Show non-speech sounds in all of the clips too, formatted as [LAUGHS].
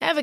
Ever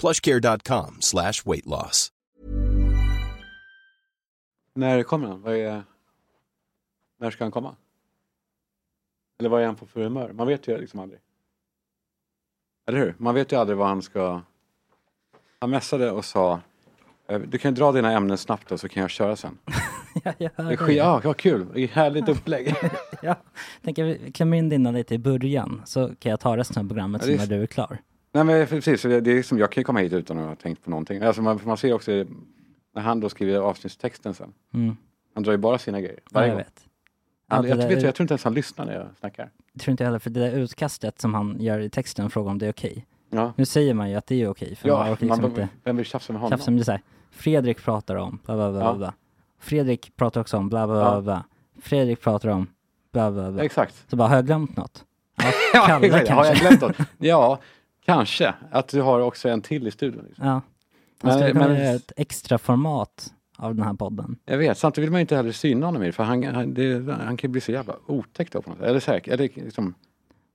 plushcare.com slash weight loss. När kommer han? Vad är... När ska han komma? Eller vad är han på för humör? Man vet ju liksom aldrig. Eller hur? Man vet ju aldrig vad han ska... Han messade och sa eh, du kan ju dra dina ämnen snabbt då, så kan jag köra [LAUGHS] sen. Ja, jag hör Det är dig. sk- ja, vad kul. Det är härligt [LAUGHS] upplägg. Ja, tänker vi klämmer in dina lite i början så kan jag ta resten av programmet Ja, sen det när är- du är klar. Nej men precis, det det är som, jag kan ju komma hit utan att ha tänkt på någonting. Alltså man, man ser också när han då skriver avsnittstexten sen. Mm. Han drar ju bara sina grejer. Ja, Varje jag gång. vet. Han, Ja, jag, det vet, där- du, jag tror inte ens han lyssnar när jag snackar. tror inte heller, för det där utkastet som han gör i texten frågar om det är okej. Ja, Nu säger man ju att det är okej, för man ja orkar man, liksom inte vem vill tjafsa med honom? tjafsa. Men det är så här, Fredrik pratar om bla bla bla. Ja. bla. Fredrik pratar också om bla bla bla. Ja. bla. Fredrik pratar om bla bla bla. Exakt. Så bara, har jag [LAUGHS] glömt något? Ja, Ja, Kalle exakt. kanske. Har jag glömt något? Ja, kanske. Att du har också en till i studion. Liksom. [LAUGHS] Ja. Man Men- skulle kunna men- göra ett extra format av den här podden. Jag vet, samtidigt vill man ju inte heller syna honom i det, för han, han, det, han kan ju bli så jävla otäck då på något sätt. Eller säkert, eller liksom, Man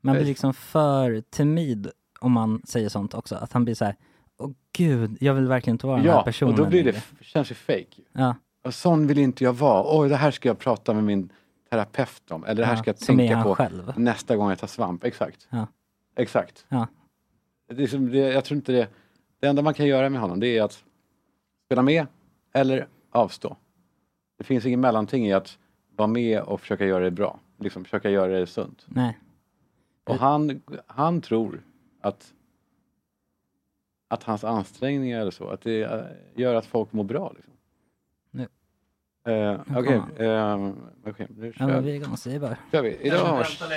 blir Precis. liksom för timid om man säger sånt också. Att han blir så här, åh gud, jag vill verkligen inte vara den här ja, personen och då blir det, längre." känns ju fake. ja, Och sån vill inte jag vara. Oj, det här ska jag prata med min terapeut om. Eller det här ja, ska jag som är tänka han på själv. nästa gång jag tar svamp. Exakt. Ja. Exakt. Ja. Det är som, det, jag tror inte det... Det enda man kan göra med honom, det är att spela med eller avstå. Det finns ingen mellanting i att vara med och försöka göra det bra. Liksom försöka göra det sunt. Nej, Eh. Och han, han tror att, att hans ansträngningar eller så, att det eh, gör att folk mår bra. Liksom. Nu. Eh, Nu Okej, kommer eh, okej, nu ja, kör, men vi. vi är igång, så det är bara. kör vi. Idag. Tjena!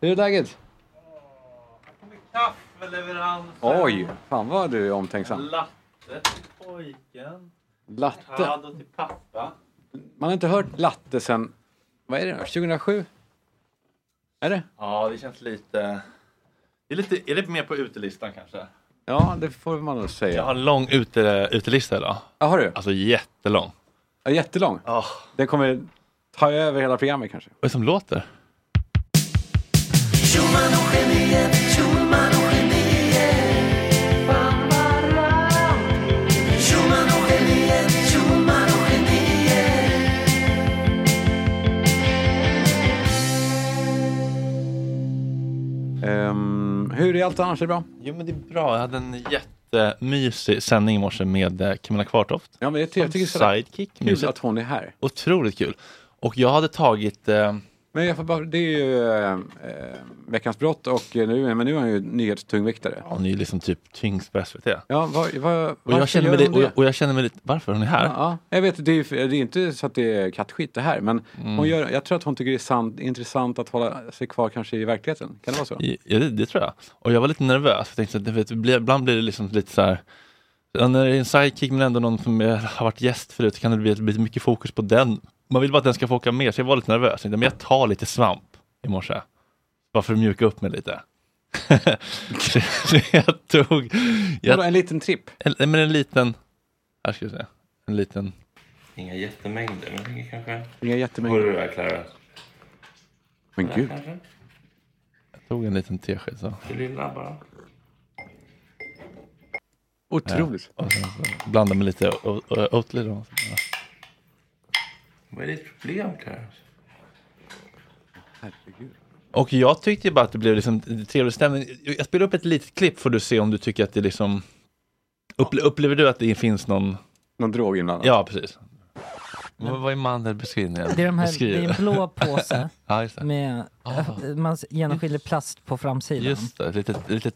Hur är läget? Kaffeleverans. Oj, fan vad du är omtänksam. Latte till pojken. Latte. Tado till pappa. Man har inte hört latte sen, vad är det då, 2007? Är det? Ja, det känns lite... Det är, lite, är det mer på utelistan kanske? Ja, det får man nog Jag har säga. en lång ute, utelista idag. Ja, har du? Alltså jättelång. Ja, Jättelång. Ja, Den kommer ta över hela programmet kanske. Vad är det som låter? Ehm, hur är allt annars? Är det bra? Jo, men det är bra. Jag hade en jättemysig sändning i morse med eh, Camilla Kvartoft. Ja, men jag, ty- jag tycker det är så jävla Sidekick. kul Mysigt. att hon är här. Otroligt kul. Och jag hade tagit... Eh, Men jag får bara, det är ju eh, eh, Veckans brott och eh, nu, men nu är hon ju nyhetstungviktare. hon är ju liksom typ tyngst på SVT. Ja, vad, vad, Och jag, känner mig gör lite, hon och, det? jag, och jag känner mig lite... Varför hon är här? Ja, jag vet, det är, ju- det är inte så att det är kattskit det här, men Mm. hon gör, jag tror att hon tycker det är sant, intressant att hålla sig kvar kanske i verkligheten. Kan det vara så? Ja, det, det tror jag. Och jag var lite nervös. För jag tänkte att, vet, bli- ibland blir det liksom lite så här. ja, När det är en sidekick men ändå någon som är, har varit gäst förut kan det bli, bli mycket fokus på den. Man vill bara att den ska få åka med. Så jag var lite nervös. Jag tänkte, men jag tar lite svamp i morse. Bara för att mjuka upp mig lite. [LAUGHS] så, så jag tog Ja. Vadå, En liten tripp? en, men en liten. Här ska vi se. En liten. Inga jättemängder, men det kanske... Inga Hör jättemängder. du det här, Clara? Men gud. Kanske? Jag tog en liten tesked. Så. Det lilla bara. Otroligt. Och sen så blandade med lite o- o- Oatly. då. Vad är ditt problem, Clara? Herregud. Och jag tyckte ju bara att det blev liksom trevlig stämning. Jag spelar upp ett litet klipp får du se om du tycker att det liksom Upple- upplever du att det finns någon... Någon drog innan? Ja, precis. Vad, vad är mandelbeskrivningen? Det är, de här, Beskriv. det är en [LAUGHS] blå påse Ja, just det. med Ah. man genomskinlig plast på framsidan. Just det, ett litet, litet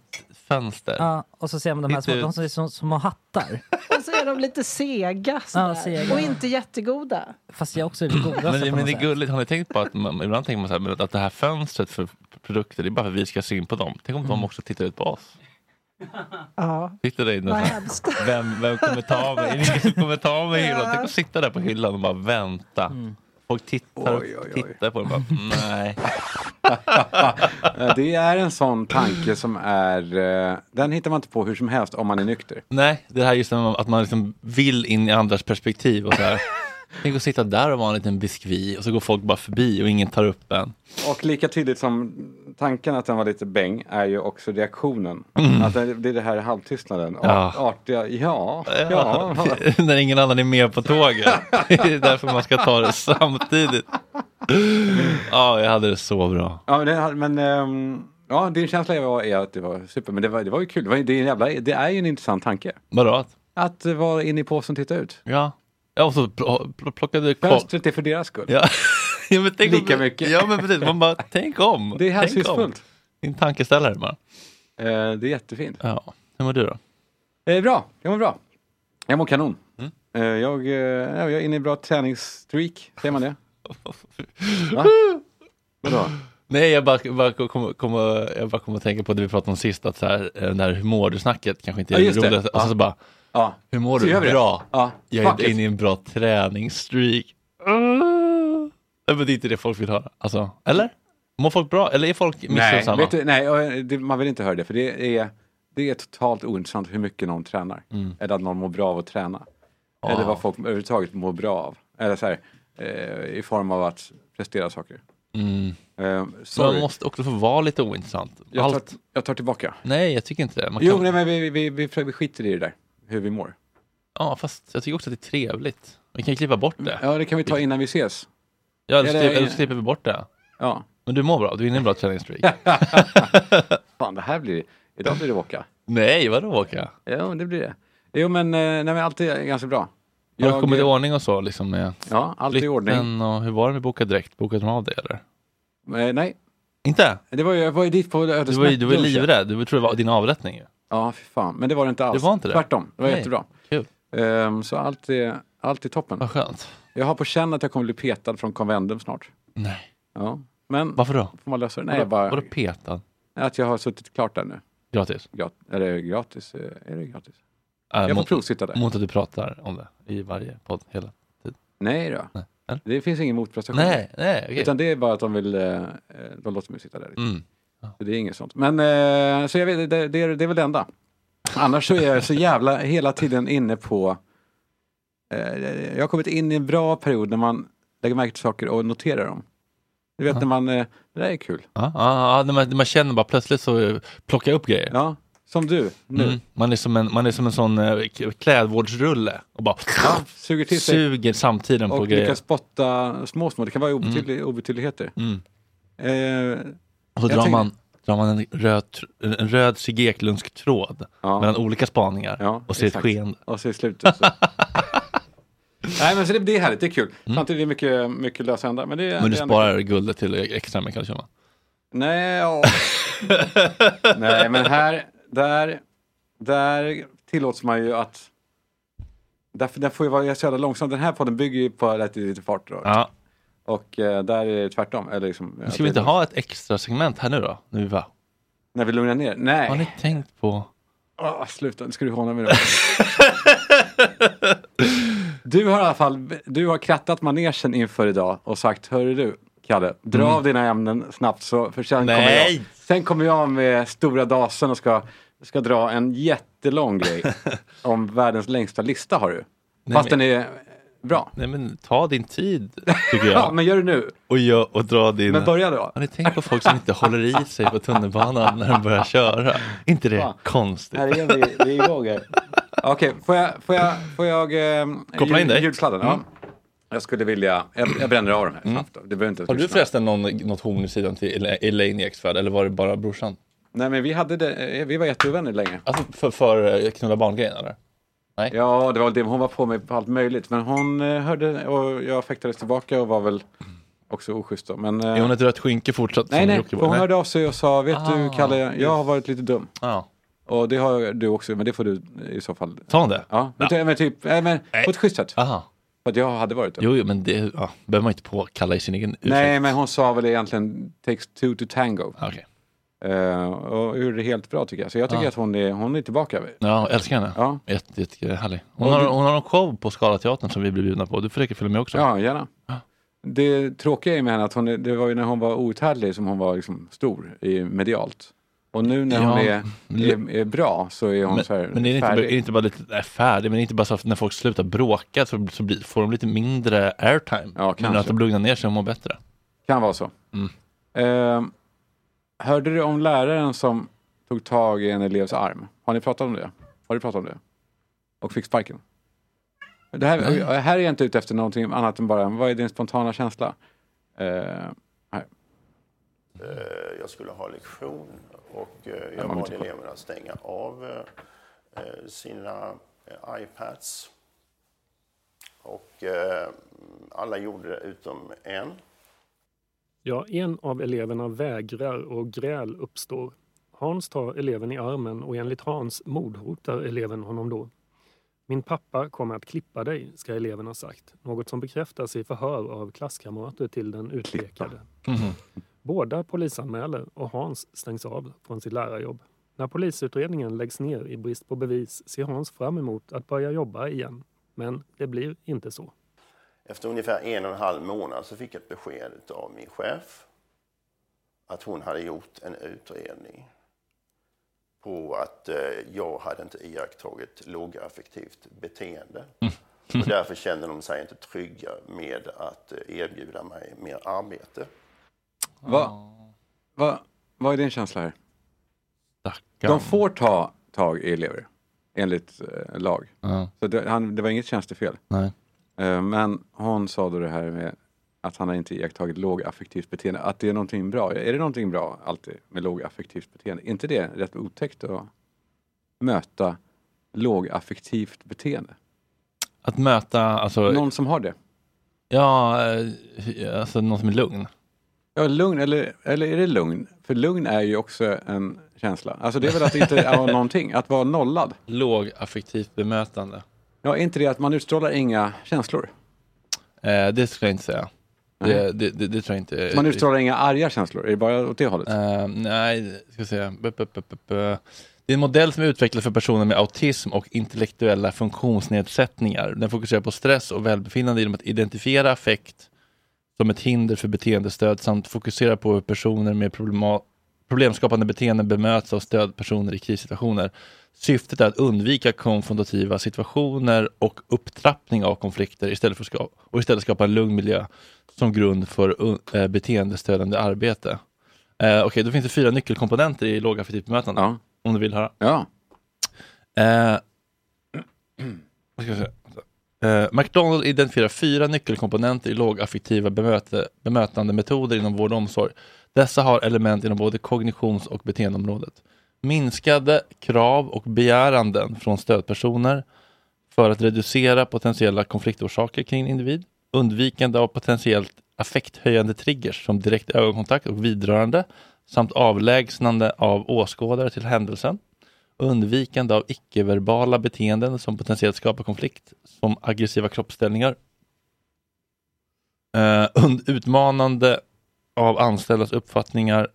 fönster. Ja, och så ser man de här små, Titta de ut. som är som små hattar. Och så är de lite sega, sådär. Ja, sega. och inte jättegoda. Fast jag också är det godaste Men, det- på men något det är sätt. gulligt, har ni tänkt på att man, ibland tänker man så här, men att det här fönstret för produkter, det är bara för att vi ska se in på dem. Tänk om Mm. de också tittar ut på oss. Ja, Sitter där inne vad och så här, hemskt. [LAUGHS] vem, vem kommer ta av mig? Är det ingen som kommer ta av mig i hyllan? Tänk att sitta där på hyllan och bara vänta. Folk tittar, Oj, oj, oj. tittar på en och bara, mm. nej. Eh, [LAUGHS] Det är en sån tanke som är, eh, den hittar man inte på hur som helst om man är nykter. Nej, det här just när man- att man liksom vill in i andras perspektiv och så här. Tänk att sitta där och vara en liten biskvi och så går folk bara förbi och ingen tar upp en. Och lika tydligt som tanken att den var lite bäng är ju också reaktionen. Att det, det är det här halvtystnaden. Art, Mm. Ja. Artiga, ja, ja. [LAUGHS] När ingen annan är med på tåget. [LAUGHS] det är därför man ska ta det samtidigt. Ja, jag hade det så bra. ja men, det- men ehm, ja, din känsla var- är att det var super, men det var, det var ju kul. Det, var, ju- det, är en jävla, det är ju en intressant tanke. Vadå? att- Att vara inne i påsen och titta ut. Ja. ja, och så pl- pl- plockade du kvar. Fönstret är för deras skull. Ja. [LAUGHS] Ja, men tänk Lika om, mycket. Ja, men precis. Man bara, tänk om. Det är tänk om. hänsynsfullt. Din tankeställare bara. Eh, det är jättefint. Ja. Hur mår du då? Eh, bra, jag mår bra. Jag mår kanon. Mm. Eh, jag, eh, ja, jag är inne i bra träningsstreak, [LAUGHS] säger man det? Va? Vadå? Nej, jag bara, bara kom, kom, jag bara kom att tänka på det vi pratade om sist, att så här, eh, det här hur mår du-snacket kanske inte är Ja, just det. roligt. Och så, så bara, Ja, hur mår Så du? gör vi det. Bra. ja. Jag fuck är it. inne i en bra träningsstreak. Uh. Nej, men det är inte det folk vill höra. Alltså, eller? Mår folk bra? Eller är folk Nej, missunnsamma? vet du, nej jag- det, man vill inte höra det, för det är, det är totalt ointressant hur mycket någon tränar. Mm. Eller att någon mår bra av att träna. Eller vad folk överhuvudtaget mår bra av. Eller så här, eh, i form av att prestera saker. Mm. Eh, Så man sorry, måste också få vara lite ointressant. jag tar, Allt. jag tar tillbaka. Nej, jag tycker inte det. Man Jo, kan... nej, men vi, vi, vi, vi, vi skiter i det där, hur vi mår. Ja, fast jag tycker också att det är trevligt. Vi kan ju klippa bort det. Ja, det kan vi ta innan vi ses. Ja, eller så Eller- klipp- eller så klipper vi bort det. Ja. Men du mår bra, du är inne i en bra träningsstreak. [LAUGHS] Fan, det här blir... Idag blir det åka. Nej, vadå åka? Ja, det blir det. Jo, men, eh, nej, men allt är ganska bra. Har du kommit i eh, ordning och så liksom med Ja, allt är i ordning. flytten och hur var det med Boka Direkt? Bokade de av det eller? Eh, nej, Inte? det var ju, jag var ju dit på Du var ju du var ju ödesnattdunchen. livrädd, du trodde det var din avrättning ju. Ja, fy fan. Men det var det inte alls. Det var inte det? Tvärtom, det var Nej. jättebra. Kul. Ehm, så allt är, allt är toppen. Vad skönt. Jag har på känn att jag kommer bli petad från konvendum snart. Nej. Ja, men Varför då? får man lösa det? Nej, Vadå- jag bara, Vadå petad? att jag har suttit klart där nu. Gratis? Grat, är det gratis? Eh, Är det gratis? Äh, Jag får mot, provsitta där. mot att du pratar om det i varje podd hela. Nej då. Nej. Eller? Det finns ingen motprestation. Nej, nej, okej. Utan det är bara att de vill, eh, eh, de låter mig sitta där. lite. Mm. Så det är inget sånt. Men eh, så jag vet, det, det, är, det är väl det enda. Annars så är jag så jävla hela tiden inne på... Eh, jag har kommit in i en bra period när man lägger märke till saker och noterar dem. Du vet när man, eh, det där är kul. Ja, ja, ja, när man, när man känner bara plötsligt så eh, plockar jag upp grejer. Ja, som du nu. Mm. Man, är som en, man är som en sån eh, k- klädvårdsrulle och bara Ja, suger till sig suger samtiden på och grejer. lyckas spotta små, små. Det kan vara obetydlig, obetydligheter. Mm. Eh, Och så Jag drar tänkte- man, drar man en röd, tr- en röd Sigge Eklundsk tråd Ja. mellan olika spaningar Ja, och ser ett exakt. skeende. Och så i [LAUGHS] slutet så. Nej men så det, det är härligt, det är kul. Samtidigt är det mycket, mycket lösa ändar. Men, det, är- Mm. Men du det är sparar guldet till extra mycket kan jag känna. [LAUGHS] Nej, ja. Nej men här, där, där tillåts man ju att... Därför, där får ju vara så jävla långsam. Den här podden bygger ju på att det är lite fart. Då. Ja. Och eh, där är det tvärtom. Eller liksom, Men att Ska det- vi inte ha ett extra segment här nu då? Nu va? När vi lugnar ner. Har ni Nej, tänkt på? Åh, sluta. Nu ska du håna mig då. Du har i alla fall du har krattat manegen inför idag och sagt, hörru du Kalle, dra av dina ämnen snabbt så för sen, kommer jag, Mm. Nej! sen kommer jag med stora dasen och ska, ska dra en [LAUGHS] jättelång grej om världens längsta lista har du. Fast men- den är bra. Nej men ta din tid [LAUGHS] tycker Ja, jag. men gör det nu. Och, gör- och dra din... Men börja då. Har ni tänkt på folk som inte håller i sig på tunnelbanan när de börjar köra? inte det Fan. konstigt? Här är vi, vi är igång här. Typ. [LAUGHS] Okej, får jag, får jag, får jag ehm, Koppla in ljud- dig. Mm. Ljudsladden, ja. Jag skulle vilja, jag, jag bränner av dem här snabbt. Då. Det behöver inte Har du lyssna. förresten någon, något horn i sidan till Ela- Elaine Eksvärd eller var det bara brorsan? Nej men vi hade det, eh, vi var jätteovänner länge. Alltså för, för eh, knulla barn-grejen eller? Nej. Ja, det var väl det. Hon var på mig på allt möjligt. Men hon eh, hörde och jag fäktades tillbaka och var väl också oschysst då. Men, eh, Är hon ett rött skynke fortsatt? nej, som nej. Jocke För var? hon hörde av sig och sa, vet du Ah, Kalle, jag har varit lite dum. Ja. Och det har du också, men det får du i så fall. Sa hon det? Ja, men, ty- men typ, nej, men Nej. på ett schysst sätt. Aha. För att jag hade varit dum. Jo, jo, men det ja, behöver man inte påkalla i sin egen ursäkt. Nej, men hon sa väl egentligen takes two to tango. Ah, Okej. Ah. Eh, och gjorde det helt bra tycker jag. Så jag tycker Ja. att hon är, hon är tillbaka. Ja, jag älskar henne. Ja, Jätte, jättehärlig. Hon har, hon har en show på Skala teatern som vi blev bjudna på. Du får säkert följa med också. ja gärna. Ja. Det tråkiga är med henne att hon, är- det var ju när hon var outhärdlig som hon var liksom stor i medialt. Och nu när Ja. hon är, är, är bra så är hon Men, så här men är det inte, är det färdig. inte bara lite nej, färdig, men är det inte bara så att när folk slutar bråka så, så blir, får de lite mindre airtime? Ja, Men att kanske. de lugnar ner sig och mår bättre. Kan vara så. Mm. Eh, hörde du om läraren som tog tag i en elevs arm? Har ni pratat om det? Har du pratat om det? Och fick sparken? Det här, Nej. här är jag inte ute efter någonting annat än bara, vad är din spontana känsla? Eh, Eh, Jag skulle ha lektion och eh, man vill jag bad inte kolla. eleverna stänga av eh, eh, sina eh, iPads. Och eh, alla gjorde det utom en. Ja, en av eleverna vägrar och gräl uppstår. Hans tar eleven i armen och enligt Hans mordhotar eleven honom då. Min pappa kommer att klippa dig, ska eleven ha sagt. Något som bekräftas i förhör av klasskamrater till den utpekade. Mhm. Båda polisanmäler och Hans stängs av från sitt lärarjobb. När polisutredningen läggs ner i brist på bevis ser Hans fram emot att börja jobba igen. Men det blir inte så. Efter ungefär en och en halv månad så fick jag ett besked av min chef att hon hade gjort en utredning på att eh, jag hade inte iakttagit lågaffektivt beteende. Och därför kände de sig inte trygga med att eh, erbjuda mig mer arbete. vad, vad, vad är din känsla här? Stackarn. De får ta tag i elever, enligt eh, lag. Ja. Så det, han, det var inget tjänstefel. Nej. Eh, men hon sa då det här med att han har inte iakttagit lågaffektivt beteende, att det är någonting bra. Är det någonting bra alltid med lågaffektivt beteende? Är inte det rätt otäckt att möta lågaffektivt beteende? Att möta alltså, någon... Någon som har det? Ja, eh, alltså, någon som är lugn. Ja, lugn, eller, eller är det lugn? För lugn är ju också en känsla. Alltså det är väl att inte [LAUGHS] ha någonting, att vara nollad. Lågaffektivt bemötande. Ja, är inte det att man utstrålar inga känslor? Eh, det skulle jag inte säga. Nej. Det, det, det, det tror jag inte. är- Man utstrålar inga arga känslor, är det bara åt det hållet? Eh, nej, ska jag säga. Bup, bup, bup, bup, bup. Det är en modell som är utvecklad för personer med autism och intellektuella funktionsnedsättningar. Den fokuserar på stress och välbefinnande genom att identifiera affekt som ett hinder för beteendestöd samt fokusera på hur personer med problema- problemskapande beteenden bemöts av stödpersoner i krissituationer. Syftet är att undvika konfrontativa situationer och upptrappning av konflikter istället för att ska- och istället skapa en lugn miljö som grund för un- eh, beteendestödande arbete. Eh, Okej, då finns det fyra nyckelkomponenter i lågaffektivt bemötande, Ja. om du vill höra. ja. Eh, vad ska jag säga? Eh, McDonald identifierar fyra nyckelkomponenter i lågaffektiva bemöte, bemötandemetoder inom vård och omsorg. Dessa har element inom både kognitions och beteendeområdet. Minskade krav och begäranden från stödpersoner för att reducera potentiella konfliktorsaker kring en individ. Undvikande av potentiellt affekthöjande triggers som direkt ögonkontakt och vidrörande samt avlägsnande av åskådare till händelsen undvikande av icke-verbala beteenden som potentiellt skapar konflikt, som aggressiva kroppsställningar, Eh, und- utmanande av anställdas uppfattningar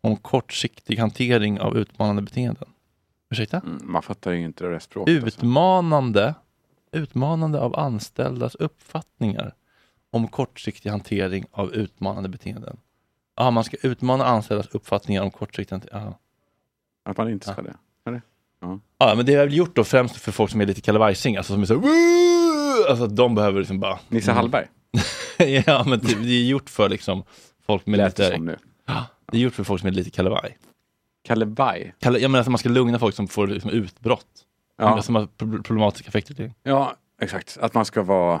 om kortsiktig hantering av utmanande beteenden. Ursäkta? Mm, Man fattar ju inte det där språket. alltså. Utmanande, utmanande av anställdas uppfattningar om kortsiktig hantering av utmanande beteenden. Ja, man ska utmana anställdas uppfattningar om kortsiktig hantering. Ja. Att man inte ska det. Ja, men det har jag väl gjort då främst för folk som är lite kalabajsing, alltså som är så här, "Woo!" alltså att de behöver liksom bara... Nisse Hallberg [LAUGHS] ja, men typ, det är gjort för liksom folk med lät det lite, som nu. det är gjort för folk som är lite kalabaj. Kalle Baj. Kal- jag menar att alltså, man ska lugna folk som får liksom, utbrott, Ja. som har pro- problematiska effekter. ja, exakt. Att man ska vara...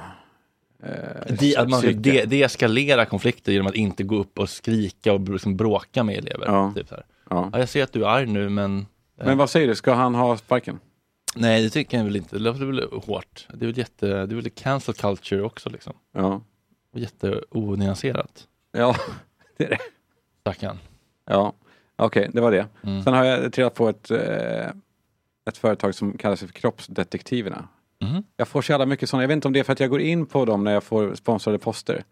Eh, De, att man ska psyke. de- deeskalera konflikter genom att inte gå upp och skrika och br- liksom, bråka med elever. Ja. Typ så här. ja. Ja, jag ser att du är arg nu, men... eh, Men vad säger du, ska han ha sparken? Nej, det tycker jag väl inte. Det låter väl hårt. Det är väl jätte, det är väl cancel culture också liksom. Ja. Och Jätteonyanserat. Ja, [LAUGHS] det är det. Stackarn. Ja, okej, det var det. Mm. Sen har jag trillat på ett, eh, ett företag som kallar sig för Kroppsdetektiverna. Mhm. Jag får så jävla mycket sådana. Jag vet inte om det är för att jag går in på dem när jag får sponsrade poster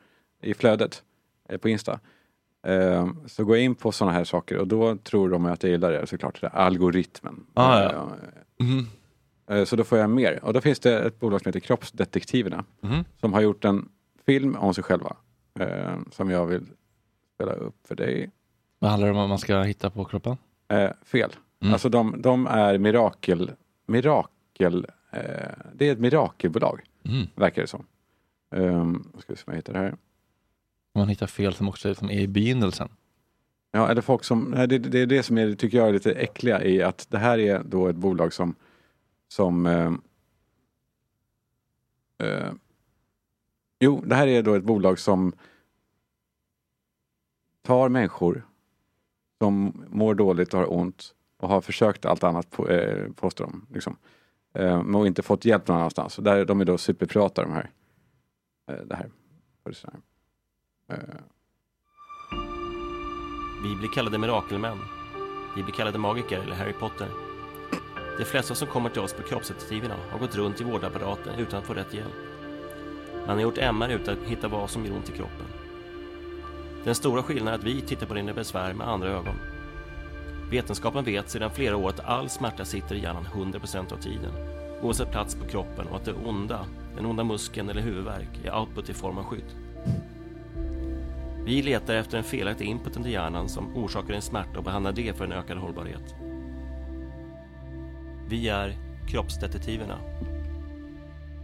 i flödet eh, på Insta. Eh, så går jag in på sådana här saker och då tror de att jag gillar det såklart, det där algoritmen. Ah, ja. Eh, Mhm. Eh, Så då får jag mer. Och då finns det ett bolag som heter Kroppsdetektiverna Mhm. som har gjort en film om sig själva eh, som jag vill spela upp för dig. Vad handlar det om att man ska hitta på kroppen? Eh, fel. Mm. Alltså de, de är mirakel... mirakel eh, det är ett mirakelbolag, Mm. verkar det som. Um, ska vi se om jag hittar det här. Man hittar fel som också som är i begynnelsen. Ja, eller folk som, nej, det, det är det som är, tycker jag är lite äckliga i att det här är då ett bolag som, som eh, eh, jo, det här är då ett bolag som tar människor som mår dåligt och har ont och har försökt allt annat, på, eh, påstår de, liksom, eh, men inte fått hjälp någon annanstans. Och Där, de är då superprivata de här. Eh, det här. Eh, Vi blir kallade mirakelmän. Vi blir kallade magiker eller Harry Potter. De flesta som kommer till oss på kroppsdetektiverna har gått runt i vårdapparaten utan att få rätt hjälp. Man har gjort MR utan att hitta vad som gör ont i kroppen. Den stora skillnaden är att vi tittar på dina besvär med andra ögon. Vetenskapen vet sedan flera år att all smärta sitter i hjärnan 100% av tiden, oavsett plats på kroppen och att det onda, den onda muskeln eller huvudvärk, är output i form av skydd. Vi letar efter den felaktiga inputen till hjärnan som orsakar en smärta och behandlar det för en ökad hållbarhet. Vi är kroppsdetektiverna.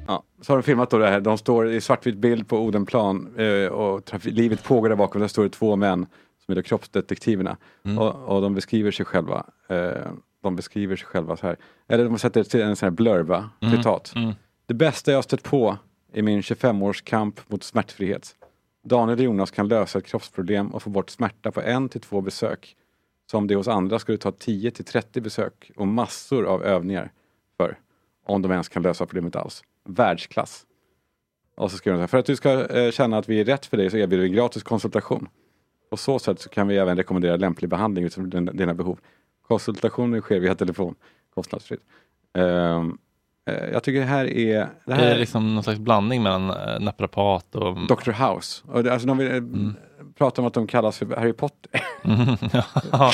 Ja, så har de filmat då det här. De står i svartvit bild på Odenplan eh, och traf- livet pågår där bakom. Där står det två män som är då kroppsdetektiverna och, och de beskriver sig själva. Eh, de beskriver sig själva så här. Eller de sätter till en sån här blurb, va? citat. Det bästa jag har stött på i min 25-års kamp mot smärtfrihet. Daniel och Jonas kan lösa ett kroppsproblem och få bort smärta på en till två besök. Som det hos andra skulle ta 10 till 30 besök och massor av övningar för. Om de ens kan lösa problemet alls. Världsklass. Och så skriver de så här, för att du ska eh, känna att vi är rätt för dig så erbjuder vi gratis konsultation. På så sätt så kan vi även rekommendera lämplig behandling utifrån din- dina behov. Konsultationen sker via telefon, kostnadsfritt. Ehm, eh, jag tycker det här är... Det Det här är det liksom någon slags blandning mellan eh, naprapat och... Dr. House. Och det, alltså, de vill, eh, pratar om att de kallas för Harry Potter. Mhm, Mm. [LAUGHS] ja.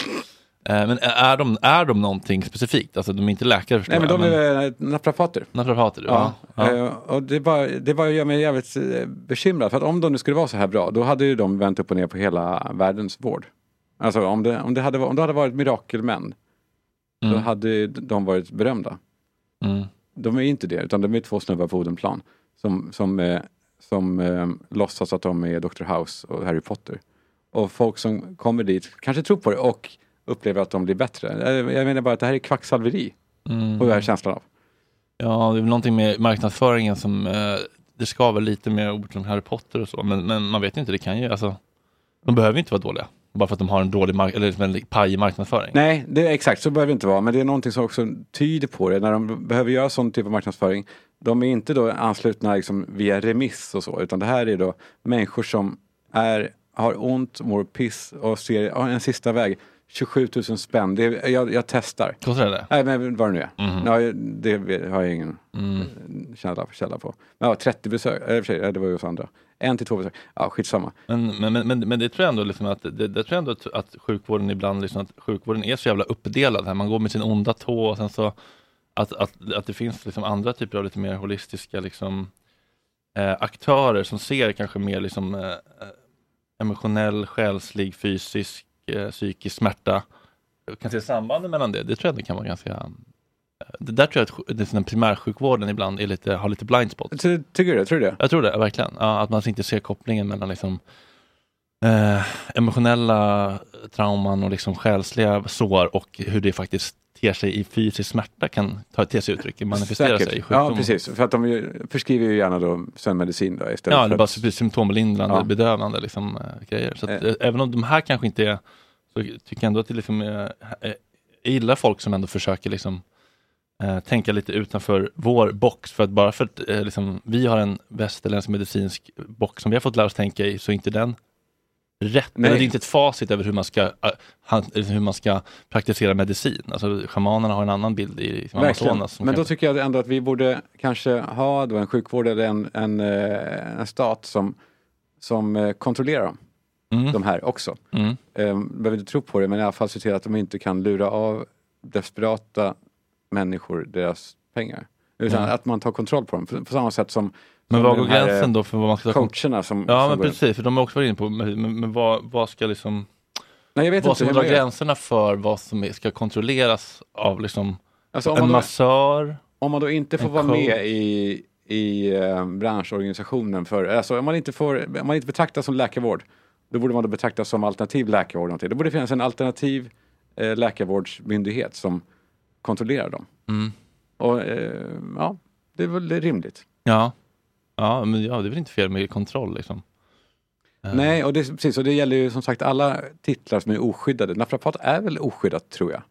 Eh, Men är de, är de någonting specifikt? Alltså de är inte läkare förstår Nej, men jag. de är eh, naprapater. Naprapater, Ja. ja. ja. Eh, och det, bara, det bara gör mig jävligt eh, bekymrad. För att om de nu skulle vara så här bra, då hade ju de vänt upp och ner på hela världens vård. Alltså om det, om det, hade, va- om det hade varit mirakelmän, då Mm. hade ju de varit berömda. Mm. De är ju inte det, utan de är två snubbar på Odenplan som, som, eh, som eh, låtsas att de är Dr. House och Harry Potter. Och folk som kommer dit kanske tror på det och upplever att de blir bättre. Eh, Jag menar bara att det här är kvacksalveri, Mm. får jag känslan av. Ja, det är väl någonting med marknadsföringen som eh, det skaver lite med ord som Harry Potter och så, men, men man vet ju inte, det kan ju, alltså, de behöver ju inte vara dåliga, bara för att de har en dålig, mark- eller liksom en paj marknadsföring. Nej, det, exakt så behöver det inte vara. Men det är någonting som också tyder på det när de behöver göra sån typ av marknadsföring. De är inte då anslutna liksom via remiss och så, utan det här är då människor som är, har ont, mår piss och ser ja, en sista väg. 27 000 spänn, det är, jag, jag testar. Kostar det det? Nej, men vad det nu är. Mhm. Ja, det vet- har jag ingen eh, källa, källa på. Men ja, 30 besök, eller i och för sig, ja, det var ju hos andra. En till två besök, ja skitsamma. Men, men, men, men, men det tror jag ändå, liksom att, det, det tror jag ändå att, att sjukvården ibland, liksom, att sjukvården är så jävla uppdelad här, man går med sin onda tå och sen så, att, att, att det finns liksom andra typer av lite mer holistiska liksom, eh, aktörer som ser kanske mer liksom, eh, eh, emotionell, själslig, fysisk, eh, psykisk smärta, Jag kan se sambanden mellan det, det tror jag ändå kan vara ganska eh, det där tror jag att sj- det är sån här primärsjukvården ibland är lite, har lite blind spots. Ty, tycker du det? Tror du det? Jag tror det, verkligen. Ja, att man inte ser kopplingen mellan liksom, eh, emotionella trauman och liksom själsliga sår och hur det faktiskt ter sig i fysisk smärta kan ta, te sig uttryck, manifestera sig i sjukdom. Ja, precis. För att de ju- förskriver ju gärna då sömnmedicin då istället Ja, för eller att- bara sy- symptomlindrande, Ja. bedövande liksom, eh, grejer. Så att, Eh. eh, även om de här kanske inte är, så tycker jag ändå att det liksom, eh, eh, jag gillar folk som ändå försöker liksom, eh, tänka lite utanför vår box. För att bara för att eh, liksom, vi har en västerländsk medicinsk box som vi har fått lära oss tänka i, så är inte den rätt. Nej. Eller det är inte ett facit över hur man ska, eh, han, eller hur man ska praktisera medicin. Alltså, shamanerna har en annan bild i liksom, Verkligen. Amazonas. som Men då kanske- tycker jag ändå att vi borde kanske ha då en sjukvård eller en, en, eh, en stat som, som eh, kontrollerar dem. De här också. Mm. Ehm, behöver inte tro på det, men i alla fall se till att de inte kan lura av desperata människor deras pengar. Utan Mm. att man tar kontroll på dem, på, på samma sätt som Men som var den går här, eh, gränsen då för vad man ska ta kont- coacherna som... Ja, som men går- precis, för de har också varit inne på, men, men, men vad, vad ska liksom... Nej, jag vet vad inte ska hur dra man gör. gränserna för vad som är- ska kontrolleras av liksom Alltså, om en man då- massör? Om man då inte får En vara coach. med i, i eh, branschorganisationen för, alltså om man inte får, om man inte betraktas som läkarvård, då borde man då betraktas som alternativ läkarvård. eller Någonting. Då borde det finnas en alternativ eh, läkarvårdsmyndighet som kontrollerar dem. Mm. Och eh, ja, det är väl rimligt. Ja. Ja, men ja, det är väl inte fel med kontroll liksom. Eh, Nej, och det, precis, och det gäller ju som sagt alla titlar som är oskyddade. Naprapat är väl oskyddat, tror jag.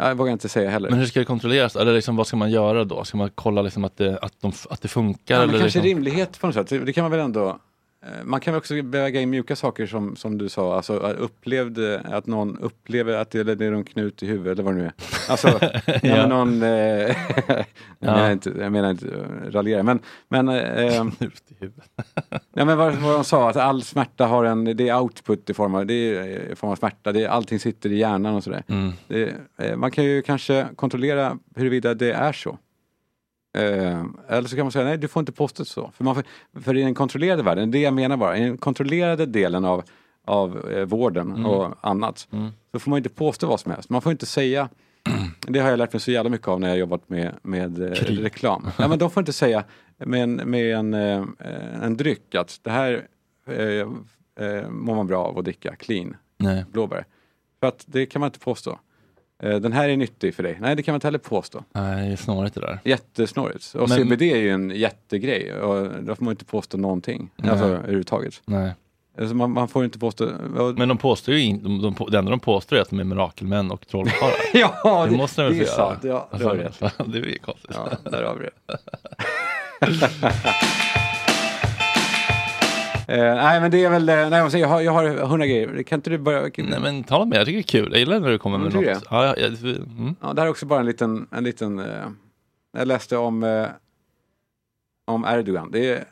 Jag vågar inte säga heller. Men hur ska det kontrolleras? Eller liksom, vad ska man göra då? Ska man kolla liksom att, det, att, de, att det funkar? Ja, men eller kanske liksom? rimlighet på något sätt. Det kan man väl ändå... eh, Man kan väl också väga in mjuka saker som, som du sa, alltså att upplevde, att någon upplever att det, eller det är någon knut i huvudet eller vad det nu är. [LAUGHS] Alltså, nej, Ja. men någon... Eh, [LAUGHS] jag, Ja. menar inte, jag menar inte eh, raljera, men... men eh, [LAUGHS] Knut i [LAUGHS] huvudet. Nej, men vad, vad de sa, att all smärta har en, det är output i form av, det är, eh, i form av smärta, det är, allting sitter i hjärnan och sådär. Mm. Det, eh, man kan ju kanske kontrollera huruvida det är så. Eh, eller så kan man säga, nej du får inte posta så. För, man får, för i den kontrollerade världen, det jag menar bara, i den kontrollerade delen av, av eh, vården Mm. och annat, Mm. så får man inte påstå vad som helst. Man får inte säga, [CLEARS THROAT] det har jag lärt mig så jävla mycket av när jag jobbat med, med eh, Krig. [LAUGHS] reklam. Nej, men de får inte säga med en, med en, eh, en dryck att det här eh, eh, mår man bra av att dricka, clean, Nej. blåbär. För att det kan man inte påstå. Eh, Den här är nyttig för dig. Nej, det kan man inte heller påstå. Nej, det är snarare det där. Jättesnårigt. Och Men- CBD är ju en jättegrej. Och då får man inte påstå någonting. Nej. Alltså överhuvudtaget. Nej. Alltså, man, man får [LAUGHS] inte påstå... och- Men de påstår ju in, de, de, det enda de påstår är att de är mirakelmän och trollkarlar. [LAUGHS] Ja, det, måste de väl det är få sant. göra? Ja, det har du rätt. alltså, [LAUGHS] det är ju konstigt. Ja, där har vi det. Eh, nej, men det är väl... eh, Nej, jag säger, jag har- jag har hundra grejer. Kan inte du börja... Kan, Nej men tala med, jag tycker det är kul. Jag gillar när du kommer Mm, med tycker något. Ja, ja, ja, det- mm. Ja, det här är också bara en liten... En liten eh, jag läste om, eh, om Erdogan. Det är,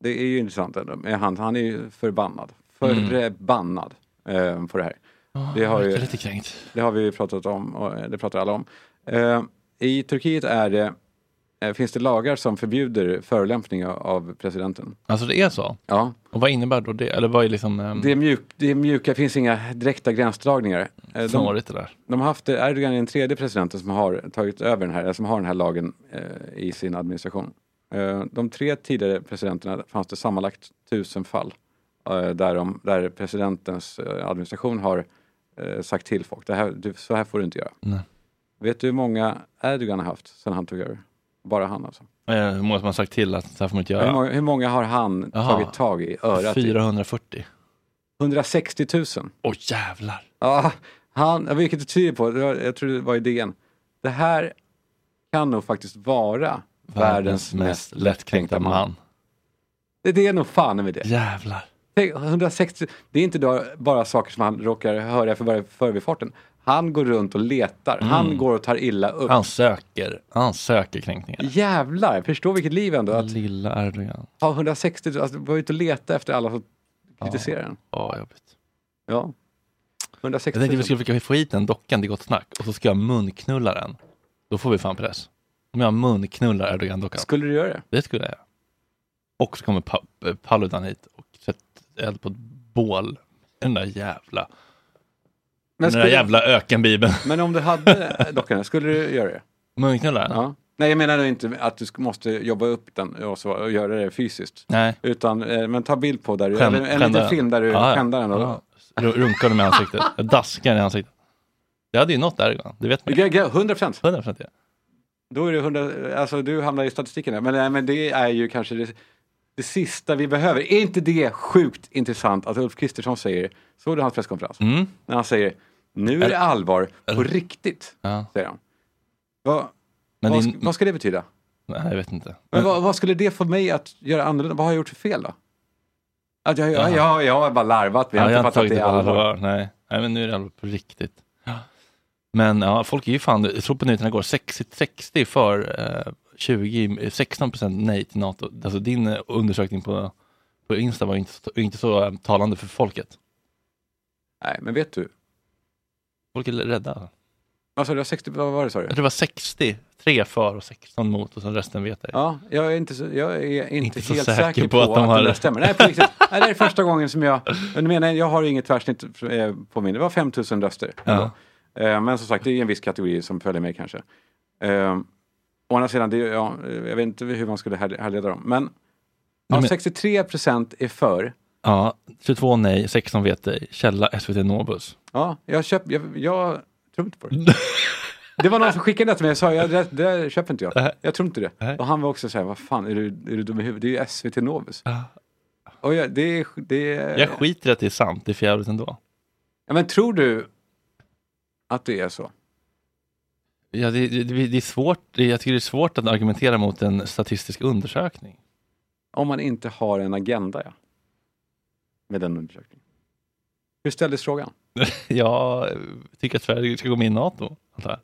det är ju intressant. ändå. Men Han, han är ju förbannad. Mm. Förbannad eh, på det här. Ja, Det har jag ju- verkar lite kränkt. Det har vi ju pratat om och eh, det pratar alla om. Eh, I Turkiet är det, eh, finns det lagar som förbjuder förolämpning av- av presidenten. Alltså det är så. Ja, Och vad innebär då det? Eller vad är liksom ehm, det är, mjuk, det är mjuka, det finns inga direkta gränsdragningar. Eh, de- snårigt det där? De har haft, det- Erdogan är den tredje presidenten som har tagit över den här, eller som har den här lagen eh, i sin administration. Eh, de tre tidigare presidenterna fanns det sammanlagt tusen fall eh, där, de, där presidentens eh, administration har eh, sagt till folk, det här, du, så här får du inte göra. Nej. Vet du hur många Erdogan har haft sedan han tog över? Bara han alltså. Eh, Hur många som har sagt till att så här får man inte Hur, göra? många, hur många har han Jaha. tagit tag i örat? i? 440. 160 000. Åh jävlar! Ja, han, ja, vilket det tyder på, det var, jag tror det var idén. Det här kan nog faktiskt vara världens mest lättkränkta man. Det, det är nog fan med det. Jävlar! Tänk, 160, det är inte då bara saker som han råkar höra för bara i förbifarten. Han går runt och letar, han går och tar illa upp. Mm. Han söker, han söker kränkningar. Jävlar, förstå vilket liv ändå att Lilla Erdogan. ha 160, alltså vara ute och leta efter alla som kritiserar en. Ja, jobbigt. Ja. Jag 160 tänkte vi skulle försöka få hit den dockan till Gott Snack och så ska jag munknulla den. Då får vi fan press. Om jag munknullar Erdogan-dockan. Skulle du göra det? Det skulle jag göra. Och så kommer pa eh, Paludan hit och sätter eld på ett bål. Den där jävla, Men, den där skulle, jävla ökenbibeln. men om du hade [LAUGHS] dockan, skulle du göra det? Munknullaren? Ja. Nej, jag menar nu inte att du sk- måste jobba upp den och, så, och göra det fysiskt. Nej. Utan, eh, men ta bild på där du, Skäm- eller en skämda liten den. film där du Ja, ja. skändar den. Och, Ja. Ru- Runkar den i ansiktet. Jag daskar den i ansiktet. Det hade ju nått Erdogan, det vet man ju. Ja, ja, 100 procent. 100 procent ja. Då är det 100, alltså du hamnar i statistiken där. Men, nej, men det är ju kanske det, det sista vi behöver. Är inte det sjukt intressant att Ulf Kristersson säger, såg du hans presskonferens? Mm. När han säger, nu är det allvar på Eller- riktigt, Ja. säger han. Vad, Men vad, din- sk- vad ska det betyda? Nej, jag vet inte. Men vad, vad skulle det få mig att göra annorlunda? Vad har jag gjort för fel då? Att jag, jag, Jaha. jag, jag har bara larvat mig. Ja, Jag har inte fattat tagit det på allvar. Nej. nej, men nu är det allvar på riktigt. Men ja, folk är ju fan, jag tror på nyheterna går 60-60 för eh, 20, 16 procent nej till NATO. Alltså din eh, undersökning på, på Insta var ju inte, så- inte så eh, talande för folket. Nej, men vet du? Folk är rädda. Alltså, det var 60, vad var det sa du? Jag tror det var 60, 3 för och 16 mot och sen resten vet jag. Ja, jag är inte, så, jag är inte, så helt säker, på att, de har... det där stämmer. Nej, på riktigt. Nej, det är första gången som jag... Men du menar, jag har inget tvärsnitt eh, på min. Det var 5 000 röster. Ja. Eh, Men som sagt, det är en viss kategori som följer mig kanske. Eh, Å andra sidan, det, är- ja, eh, jag vet inte hur man skulle här- härleda dem. Men, ja, men- 63 procent är för. Ja, 22 nej, 16 vet dig. Källa SVT Novus. Ja, jag, köp, jag, jag tror inte [LAUGHS] på det. Det var någon som skickade det till mig och sa, jag, det, det köper inte jag. Jag tror inte det. Och han var också så här, vad fan, är du, är du dum i huvudet? Det är ju SVT Novus. Och jag, det, är- det, är- Jag skiter i att det är sant, det är för jävligt ändå. Ja, men tror du att det är så? Ja, det, det, det är svårt, det- jag tycker det är svårt att argumentera mot en statistisk undersökning. Om man inte har en agenda, ja. Med den [LAUGHS] undersökningen. Hur ställdes frågan? Jag eh, tycker att Sverige ska gå med i NATO, antar jag.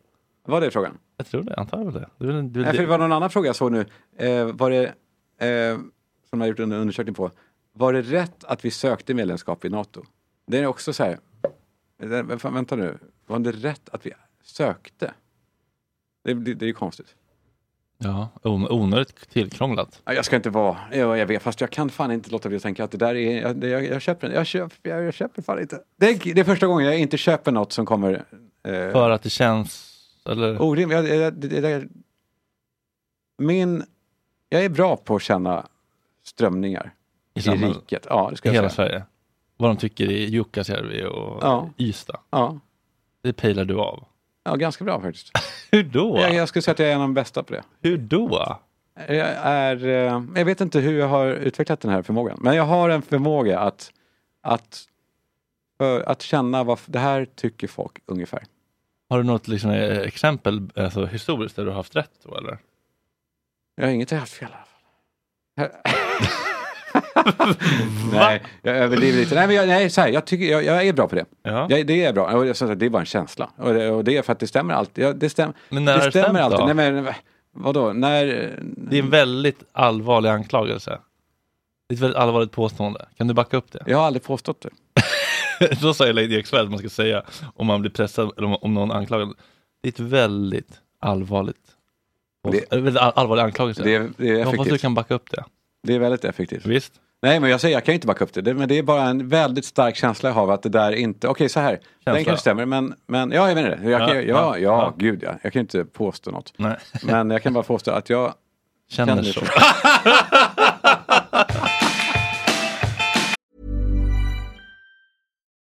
Var det frågan? Jag tror det, antar jag väl det. det, är väl- det, Nej, är Eh, för väl det var någon annan fråga jag såg nu. Eh, var det, eh, som jag har gjort en undersökning på, var det rätt att vi sökte medlemskap i NATO? Det är också så här, Eh, det- vä- fan, vänta nu, var det rätt att vi sökte? Det, det, det är ju konstigt. ja, on- onödigt tillkrånglat. Ja, Jag ska inte vara, jag, jag vet, fast jag kan fan inte låta bli att tänka att det där är, jag, det- jag, jag köper den, jag köper, jag, jag köper fan inte. Det är, det är första gången jag inte köper något som kommer eh, För att det känns, eller? Orimligt. Jag, jag, Oh, det, det, där- min, jag är bra på att känna strömningar i, samhället? riket. Ja, det ska I jag hela säga. Sverige. Vad de tycker i Jukkasjärvi och Ja. Ystad. Ja. Det pejlar du av. Ja, ganska bra faktiskt. [LAUGHS] Hur då? Jag, jag skulle säga att jag är en av de bästa på det. Hur då? Jag, är, eh, jag vet inte hur jag har utvecklat den här förmågan, men jag har en förmåga att, att, för, att känna vad f- det här tycker folk ungefär. Har du något liksom, eh, exempel alltså, historiskt där du har haft rätt då eller? Jag har inget haft fel i alla [LAUGHS] fall. nej, jag överdriver lite. Nej, men jag, nej, så här, jag, tycker, jag, jag är bra på det. Ja. Jag, det är bra. Och jag, som sagt, det är bara en känsla. Och det, och det är för att det stämmer alltid. Ja, det, stäm, Men när har det det stämmer stämt alltid. då? Nej, men, v- vadå? När... Det är en väldigt allvarlig anklagelse. Det är ett väldigt allvarligt påstående. Kan du backa upp det? Jag har aldrig påstått det. [LAUGHS] Så säger Lady X själv att man ska säga om man blir pressad eller om, om någon anklagar. Det är ett väldigt allvarligt Det- det, väldigt all- allvarlig anklagelse. Det är- det är Jag hoppas effektivt. du kan backa upp det. Det är väldigt effektivt. Visst. Nej, men jag säger, jag kan ju inte backa upp det. det. Men det är bara en väldigt stark känsla jag har av att det där inte... Okej, så här. Den kanske stämmer, men, men... Ja, jag menar det. Jag kan, Ja, ja, ja, ja, ja, ja. gud ja. Jag kan ju inte påstå något. Nej. Men jag kan bara påstå att jag... Känner det så.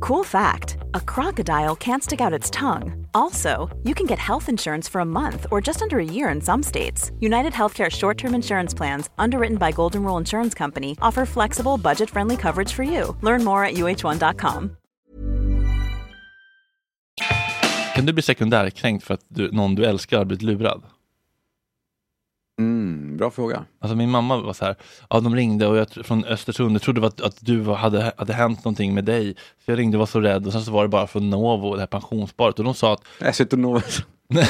Cool fact a crocodile can't stick out its tongue. Also, you can get health insurance for a month or just under a year in some states. United Healthcare short term insurance plans, underwritten by Golden Rule Insurance Company, offer flexible, budget friendly coverage for you. Learn more at uh1.com. Kan du bli sekundärkränkt för att du, någon du älskar har blivit lurad? Mm, bra fråga. Alltså min mamma var så här, ja de ringde och jag, tr- från Östersund, jag trodde det var att, att du var- hade, hade hänt någonting med dig. Så jag ringde och var så rädd och sen så var det bara från Novo, det här pensionssparet och de sa att... [LAUGHS] Jag sitter Novo. Nej,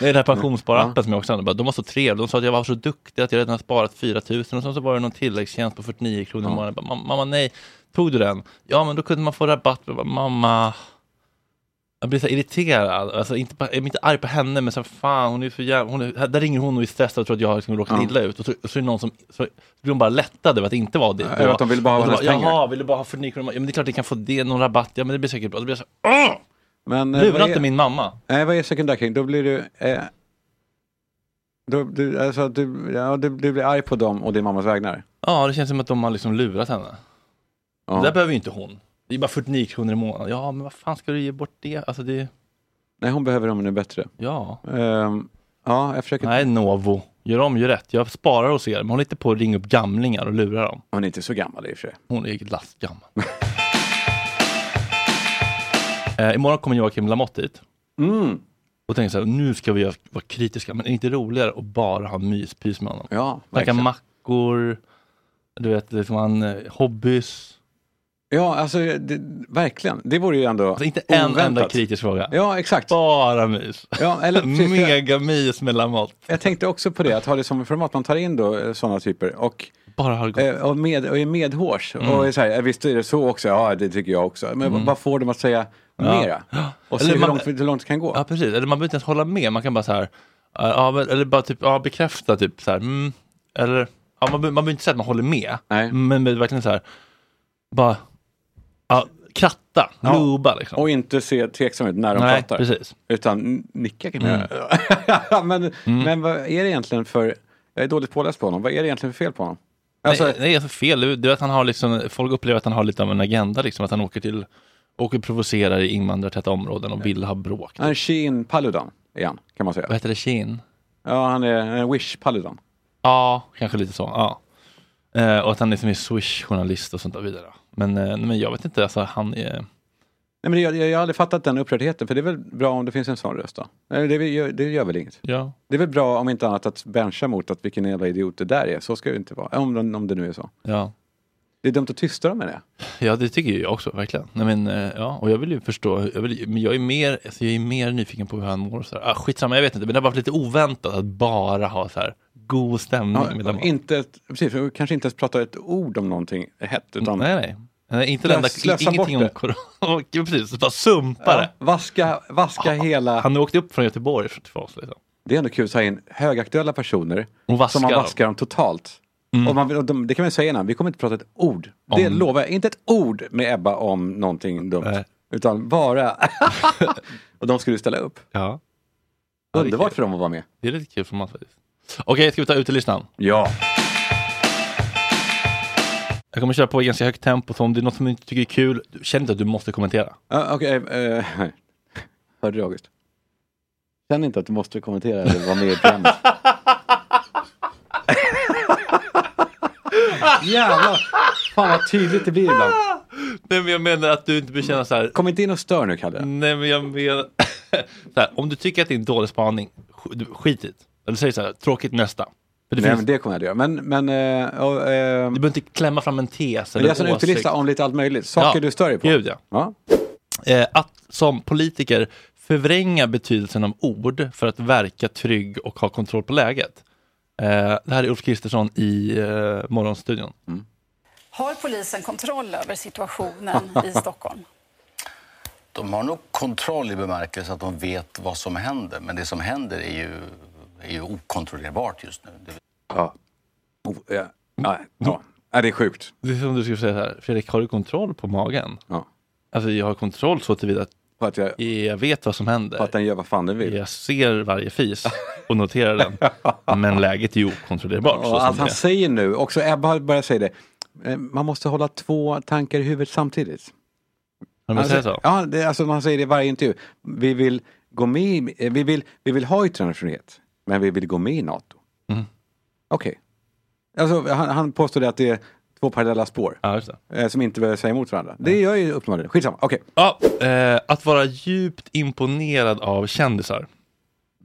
den här pensionssparappen som jag också använde, bara, de var så trevliga, de sa att jag var så duktig att jag redan har sparat 4 000 och sen så var det någon tilläggstjänst på 49 kronor i Ja. månaden. Jag bara, "Mam- Mamma nej, tog du den? Ja men då kunde man få rabatt. Jag bara, Mamma, jag blir så här irriterad, alltså inte, på- jag blir inte arg på henne men så här, fan hon är så jävla, hon är, här- där ringer hon och är stressad och tror att jag har liksom råkat Ja. illa ut och så, och så är det någon som, så blir hon bara lättad över att det inte var det. Ja, över att de ville bara ha Och så hennes pengar. Jaha, vill du bara ha 49 kronor? Ja men det är klart ni kan få det, någon rabatt, ja men det blir säkert bra. Och Då blir jag så här, "Åh!" Men, eh, Lura vad är- inte min mamma. Nej, vad är sekundärkring? Då blir du... Eh, då, du, alltså, du, ja, du, du blir arg på dem och din mammas vägnar. Ja, det känns som att de har liksom lurat henne. Ja. Det där behöver ju inte hon. Det är bara 49 kronor i månaden. Ja, men vad fan ska du ge bort det? Alltså det... Nej, hon behöver dem nu bättre. Ja. Ehm, ja, jag försöker... Nej, Novo. Gör om, gör rätt. Jag sparar hos er, men håll inte på att ringa upp gamlingar och lura dem. Hon är inte så gammal i och för sig. Hon är lastgammal. [LAUGHS] eh, imorgon kommer Joakim Lamotte hit. Mm. Och tänker så här, nu ska vi göra- vara kritiska, men är det inte roligare att bara ha myspys med honom? Ja, Snacka verkligen. mackor, du vet, liksom han, eh, hobbys. Ja, alltså det, verkligen. Det vore ju ändå Alltså, Inte en oväntat. enda kritisk fråga. Ja, exakt. Bara mys. Ja, [LAUGHS] eller precis, för jag, Mega mys med Lamotte. jag tänkte också på det, att ha det som format. Man tar in då eh, sådana typer och, Bara har det eh, och, med, och är medhårs. Mm. Och är så här, eh, visst är det så också? Ja, det tycker jag också. Men Mm. vad får de att säga Ja. mera? Och se Eller hur, man- långt, hur långt det kan gå. Ja, precis. Eller man behöver inte ens hålla med. Man kan bara så här, eh, ja, men- eller bara typ, ja, bekräfta typ så här, mm, eller, ja, man, be- man behöver inte säga att man håller med. Men, men verkligen så här, bara, ja, kratta, Ja. loba liksom. Och inte se tveksam ut när de Nej, pratar. precis. Utan n- nicka kan Mm. jag göra. [LAUGHS] men, men vad är det egentligen för, jag är dåligt påläst på honom, vad är det egentligen för fel på honom? Alltså- nej, nej, alltså fel. Du vet, han har liksom, folk upplever att han har lite av en agenda, liksom, att han åker till och provocerar i invandrartäta områden och vill ha bråk. Han är Sheen Paludan igen, kan man säga. Vad heter det, Sheen? Ja, han är en Wish Paludan. Ja, kanske lite så. Ja. Eh, och att han liksom är Swish-journalist och sånt där vidare. Men, eh, nej, men jag vet inte, alltså, han är... Nej, men jag, jag, jag har aldrig fattat den upprördheten, för det är väl bra om det finns en sån röst då? Nej, Det, gör- det gör väl inget? Ja. Det är väl bra om inte annat att bencha mot att vilken jävla idiot det där är. Så ska det inte vara, om, den- om det nu är så. Ja. Det är dumt att tysta dem med det. Ja, det tycker ju jag också, verkligen. Nej, men, eh, ja, och jag vill ju förstå, jag, vill, men jag, är mer, alltså, jag är mer nyfiken på hur han mår. och Så här. Ah, skitsamma, jag vet inte, men det har varit lite oväntat att bara ha så här god stämning. Ja, mellan- inte ett, precis, för kanske inte ens prata ett ord om någonting hett. Utan Nej, nej. nej inte den Slösa där, ingenting om bort corona. [LAUGHS] Och, ja, precis, bara sumpa det. Ah, vaska vaska hela... Han åkte upp från Göteborg för- för oss. Liksom. Det är ändå kul att ta in högaktuella personer Och vaska som man dem. Mm. vaskar dem totalt. Och man, vill- och de, det kan man ju säga innan, vi kommer inte prata ett ord. Det Om- lovar jag, inte ett ord med Ebba om någonting dumt. [LAUGHS] Utan bara... [LAUGHS] och de skulle ställa upp. Ja. Underbart för dem att vara med. Det är lite kul för mig faktiskt. Okej, ska vi ta utelistan? Ja. Jag kommer köra på i ganska högt tempo, så om det är något som du inte tycker är kul, känn inte att du måste kommentera. Ja, Okej, eh, [LAUGHS] hörde du August? Känner inte att du måste kommentera eller vara med i programmet. [LAUGHS] Jävlar! Fan vad tydligt det blir ibland. Nej men jag menar att du inte bör känna så här. Kom inte in och stör nu Kalle. Nej men jag menar. [LAUGHS] så här, om du tycker att det är en dålig spaning, sk- du- skit i det. Eller säg så här, tråkigt nästa. För det Nej, finns- men det kommer jag att göra. Men, men, eh, och, eh, Du behöver inte klämma fram en tes men det är eller alltså en åsikt. utelista om lite allt möjligt. Saker Ja, du stör dig på. Gud ja. ja. Eh, att som politiker förvränga betydelsen av ord för att verka trygg och ha kontroll på läget. Eh, det här är Ulf Kristersson i eh, Morgonstudion. Mm. Har polisen kontroll över situationen [LAUGHS] i Stockholm? De har nog kontroll i bemärkelse att de vet vad som händer. Men det som händer är ju, är ju okontrollerbart just nu. Ja. Oh, ja. Nej, ja. Nej, det är sjukt. Mm. Det är som du skulle säga så här, Fredrik, har du kontroll på magen? Ja. Alltså jag har kontroll så tillvida att, att jag, vet vad som händer. att den gör vad fan den vill. Jag ser varje fis och noterar [LAUGHS] den. Men läget är ju okontrollerbart. så Och som allt det alltså, han är. säger nu, också Ebba har börjat säga det. Eh, Man måste hålla två tankar i huvudet samtidigt. Har de Alltså, säger så? Ja, det, alltså man säger det i varje intervju. Vi vill gå med i, eh, vi vill, vi vill ha yttrandefrihet, men vi vill gå med i NATO. Mm. Okej. Alltså, han, han påstod att det är två parallella spår. eh, Som inte behöver säga emot varandra. Det gör ju uppenbarligen. Skitsamma, okej. Ja, eh, att vara djupt imponerad av kändisar.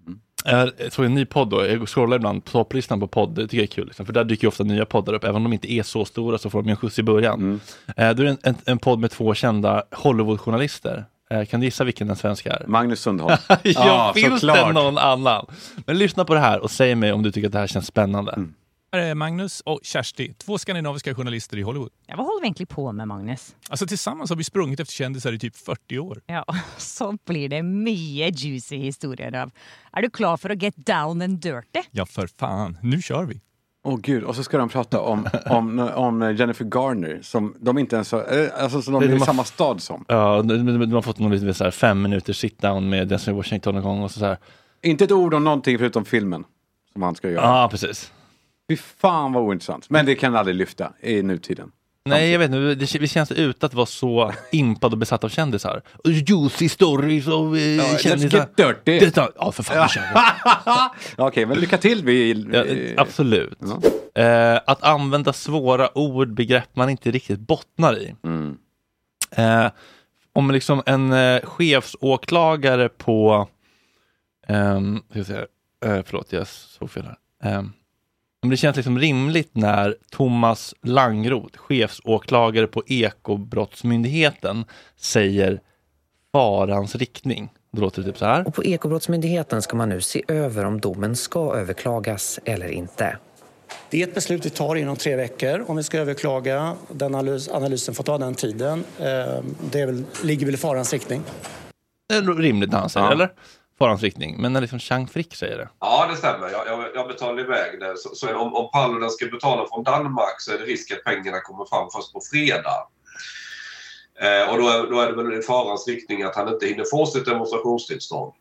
Mm. Jag jag såg en ny podd då, jag scrollar ibland på topplistan på podd, det tycker jag är kul, liksom, för där dyker ju ofta nya poddar upp, även om de inte är så stora så får de ju en skjuts i början. Mm. Eh, då är det en, en, en podd med två kända Hollywoodjournalister. Eh, kan du gissa vilken den svenska är? Magnus Sundholm. [LAUGHS] ja, Ja, finns det såklart. någon annan? Men lyssna på det här och säg mig om du tycker att det här känns spännande. Mm. Här är Magnus och Kersti, två skandinaviska journalister i Hollywood. Ja, vad håller vi egentligen på med, Magnus? Alltså tillsammans har vi sprungit efter kändisar i typ 40 år. Ja, [LAUGHS] så blir det mye juicy historier av. Är du klar för att get down and dirty? Ja, för fan. Nu kör vi. Åh gud, och så ska de prata om, om, om eh, Jennifer Garner som de inte ens har, eh, alltså som de Det- är i de har- samma stad som. Ja, de, de, de har fått någon liten så här fem minuters sit down med Denzel Washington en gång och så, så här. Inte ett ord om någonting förutom filmen som han ska göra. Ja, precis. Fy fan vad ointressant. Men det kan aldrig lyfta i nutiden. Nej, jag vet inte. Det, det känns ut att vara så impad och besatt av kändisar. Och Juicy stories av eh, Ja, let's kändisar. get dirty. Det tar, ja, för fan, [LAUGHS] vi kör. Okej, men lycka till. Vi, Ja, absolut. Eh, att använda svåra ord, begrepp man inte riktigt bottnar i. Mm. Eh, om liksom en eh, chefsåklagare på... ehm, ska jag säga, eh, förlåt, jag såg fel här. Ehm, men det känns liksom rimligt när Thomas Langroth, chefsåklagare på Ekobrottsmyndigheten, säger farans riktning. Då låter det typ så här. Och på Ekobrottsmyndigheten ska man nu se över om domen ska överklagas eller inte. Det är ett beslut vi tar inom tre veckor om vi ska överklaga. Den analys, analysen får ta den tiden. Eh, Det är väl, ligger väl i farans riktning. Det är rimligt när han säger eller? Farans riktning. Men när liksom Chang Frick säger det. [LAUGHS] Ja, det stämmer. Jag, jag, jag betalar iväg det. Så, så om, om Paludan ska betala från Danmark så är det risk att pengarna kommer fram först på fredag. Eh, och då är, då är det väl i farans riktning att han inte hinner få sitt demonstrationstillstånd.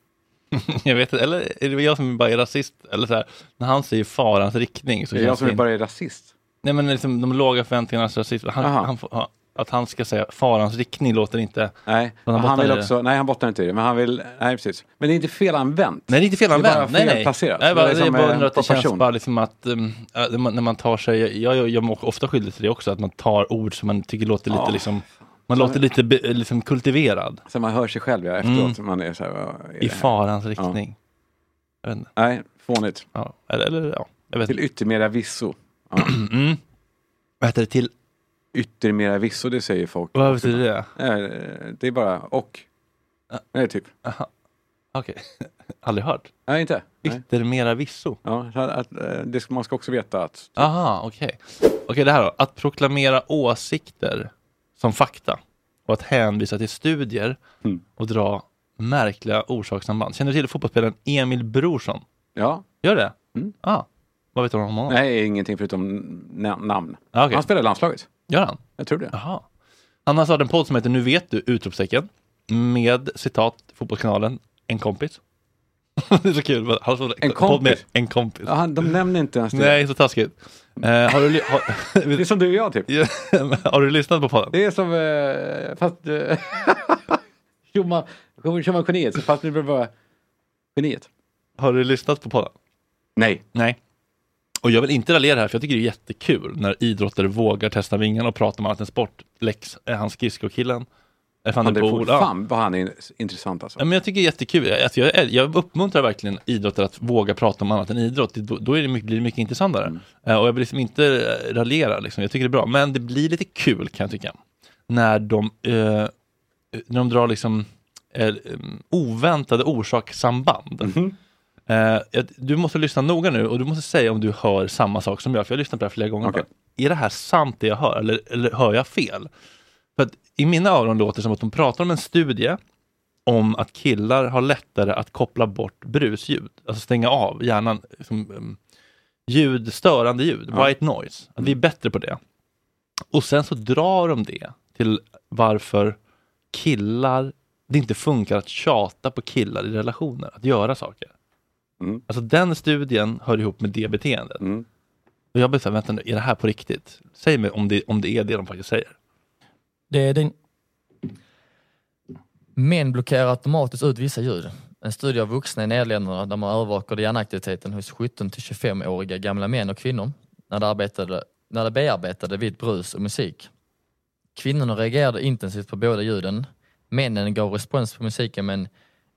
jag vet inte, eller är det jag som bara är rasist? Eller så här, när han säger farans riktning så Det är jag känns som är in- bara är rasist. Nej men liksom de låga förväntningarnas rasism. Han, Aha. han, får- ha- att han ska säga farans riktning låter inte... Nej, han Han, bottnar i vill det. också, nej han bottnar inte i det, men han vill, nej precis. Men det är inte fel använt. Nej, det är inte fel Det är använt. bara Nej, nej. felplacerat. Nej, bara, Det är jag som, bara eh, undrar att det känns proportion. bara liksom att um, äh, när man- när man tar sig, jag, jag, jag mår ofta skyldig till det också, att man tar ord som man tycker låter lite Ja. liksom, man Så- låter lite be, liksom kultiverad. Så man hör sig själv ja, efteråt. Man är så här, vad är Mm. I det här? farans Ja. riktning. Jag vet inte. Nej, fånigt. Ja, eller, eller, ja, jag vet Mm. Till yttermera visso. [CLEARS THROAT] Vad heter det till? Yttermera visso, det säger folk. Vad betyder det? Eh, Det är bara och. Nej, typ. Okej. [LAUGHS] Aldrig hört. Nej, inte. Yttermera visso. Ja, så att, eh, det ska, man ska också veta att... Aha, okej. Okej, det här då. Att proklamera åsikter som fakta och att hänvisa till studier Mm. och dra märkliga orsakssamband. Känner du till fotbollsspelaren Emil Brorsson? Ja. Gör det? Mm. Ah, vad vet du om honom? Nej, ingenting förutom na- namn. Ah, okej. Han spelar i landslaget. Gör han? Jag tror det. Aha. Han har startat en podd som heter Nu vet du! utropstecken med citat Fotbollskanalen, en kompis. [LAUGHS] det är så kul. Han har startat En podd med kompis? En kompis. Ja, han, de nämner inte ens det. Nej, så taskigt. Eh, har du, li- har, [LAUGHS] det är som du och jag typ. har du lyssnat på podden? Det är som... Eh, fast... eh, [LAUGHS] Schumann- Schumann geniet, fast nu blir det bara geniet. Har du lyssnat på podden? Nej. Nej. Och jag vill inte raljera här, för jag tycker det är jättekul när idrottare vågar testa vingarna och prata om allt en sport. Lex, eh, han skridskokillen. eh, Van Han der är Poel. fort, Ja. fan vad han är intressant alltså. Ja, men jag tycker det är jättekul. Alltså jag, jag- jag uppmuntrar verkligen idrottare att våga prata om annat än idrott. Det- Då, då är det mycket, blir det mycket intressantare. Eh, Och jag vill liksom inte eh, raljera, liksom. jag tycker det är bra. Men det blir lite kul kan jag tycka. När de, eh, när de drar liksom, eh, um, oväntade orsakssamband. Eh, jag- du måste lyssna noga nu och du måste säga om du hör samma sak som jag. För jag har lyssnat på det här flera gånger. Bara, Är det här sant det jag hör eller, eller hör jag fel? För att i mina öron låter det som att de pratar om en studie om att killar har lättare att koppla bort brusljud, alltså stänga av hjärnan, liksom, um, ljud, störande ljud, Ja. white noise, att vi är bättre på det. Och sen så drar de det till varför killar, det inte funkar att tjata på killar i relationer, att göra saker. Alltså den studien hör ihop med det beteendet. Och jag blev såhär, vänta nu, är det här på riktigt? Säg mig om det, om det är det de faktiskt säger. Det är den... Män blockerar automatiskt ut vissa ljud. En studie av vuxna i Nederländerna där man övervakade hjärnaktiviteten hos 17-25-åriga gamla män och kvinnor när de, arbetade, när de bearbetade vid brus och musik. Kvinnorna reagerade intensivt på båda ljuden. Männen gav respons på musiken men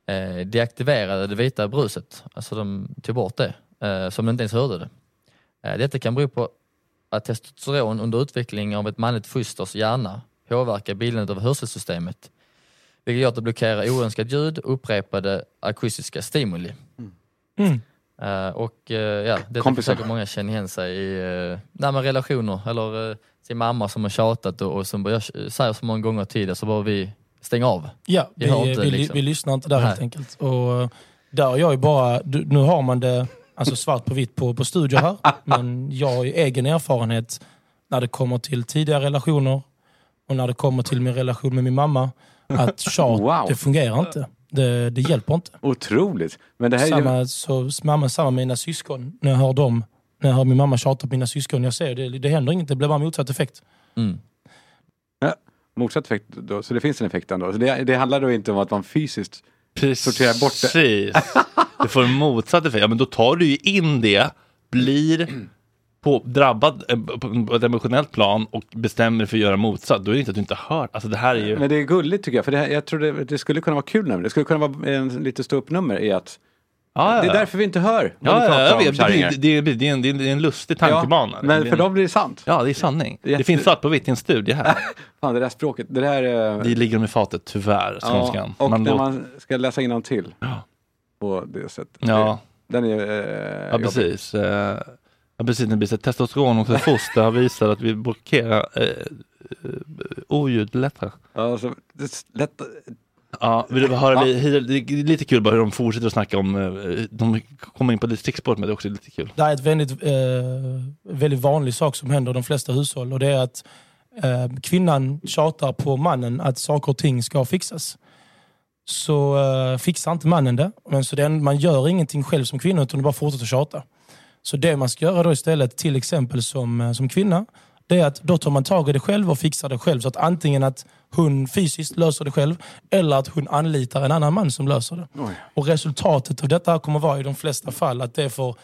eh, deaktiverade det vita bruset. Alltså de tog bort det, eh, som de inte ens hörde det. Eh, detta kan bero på att testosteron under utveckling av ett manligt fosters hjärna påverkar bildandet av hörselsystemet vilket gör att det blockerar oönskat ljud och upprepade akustiska stimuli. Mm. Eh, och eh, ja, det kan Kompisar. säkert många känner igen sig i uh, nej, men relationer eller eh, sin mamma som har tjatat och, och som bara, jag säger så många gånger tidigare så bara vi stänga av. Ja, vi, hör vi, vi, liksom. lyssnar inte där Nej. helt enkelt. Och eh, där har jag ju bara, du, nu har man det alltså svart på vitt på, på studier [LAUGHS] här, men jag har ju egen erfarenhet när det kommer till tidiga relationer och när det kommer till min relation med min mamma, att tjat, Wow. det fungerar inte. Det, det hjälper inte. Otroligt. Men det här är ju... samma, så, mamma, samma med mina syskon, när jag hör dem, när jag hör min mamma tjata på mina syskon, jag ser det, det händer inget, det blir bara motsatt effekt. Ja, motsatt effekt då, så det finns en effekt ändå. Så det, det handlar då inte om att man fysiskt sorterar bort det. Precis. Det får [LAUGHS] en motsatt effekt. Ja, men då tar du ju in det, blir på, drabbad eh, på på ett emotionellt plan och bestämmer dig för att göra motsatt. Då är det inte att du inte har hört. Alltså det här är ju... Men det är gulligt tycker jag, för det, här, jag tror det, det skulle kunna vara kul nummer. Det skulle kunna vara en lite ståuppnummer i att ja, det ja. är därför vi inte hör vad ni Ja, pratar ja, jag om vet. Det, kärringar. blir- det, det, det, är en- det, är en- det är en lustig tankebana. Ja, men för dem blir det sant. Ja, det är sanning. Det, jätte- finns svart på vitt i en studie [LAUGHS] här. Fan, det där språket, det där... eh, Det ligger dem i fatet, tyvärr, skånskan. och Man när låter- man ska läsa innan till på det sättet. Ja. Det- Den är... eh, Ja, jobbig. precis. Eh, Ja, precis. Det blir så att testosteron och foster har visat att vi blockerar eh, eh, oljud lättare. Ja, så, det är lätt... Ja, vill du höra, Ja. li- hi- det är lite kul bara hur de fortsätter att snacka om, eh, de kommer in på distriktsspåret men det är också lite kul. Det är ett väldigt, eh, väldigt vanlig sak som händer i de flesta hushåll och det är att eh, kvinnan tjatar på mannen att saker och ting ska fixas. Så eh, fixar inte mannen det. Men så den, man gör ingenting själv som kvinna utan du bara fortsätter tjata. Så det man ska göra då istället, till exempel som, eh, som kvinna, det är att då tar man tag i det själv och fixar det själv. Så att antingen att hon fysiskt löser det själv eller att hon anlitar en annan man som löser det. Oj. Och resultatet av detta kommer vara i de flesta fall att det får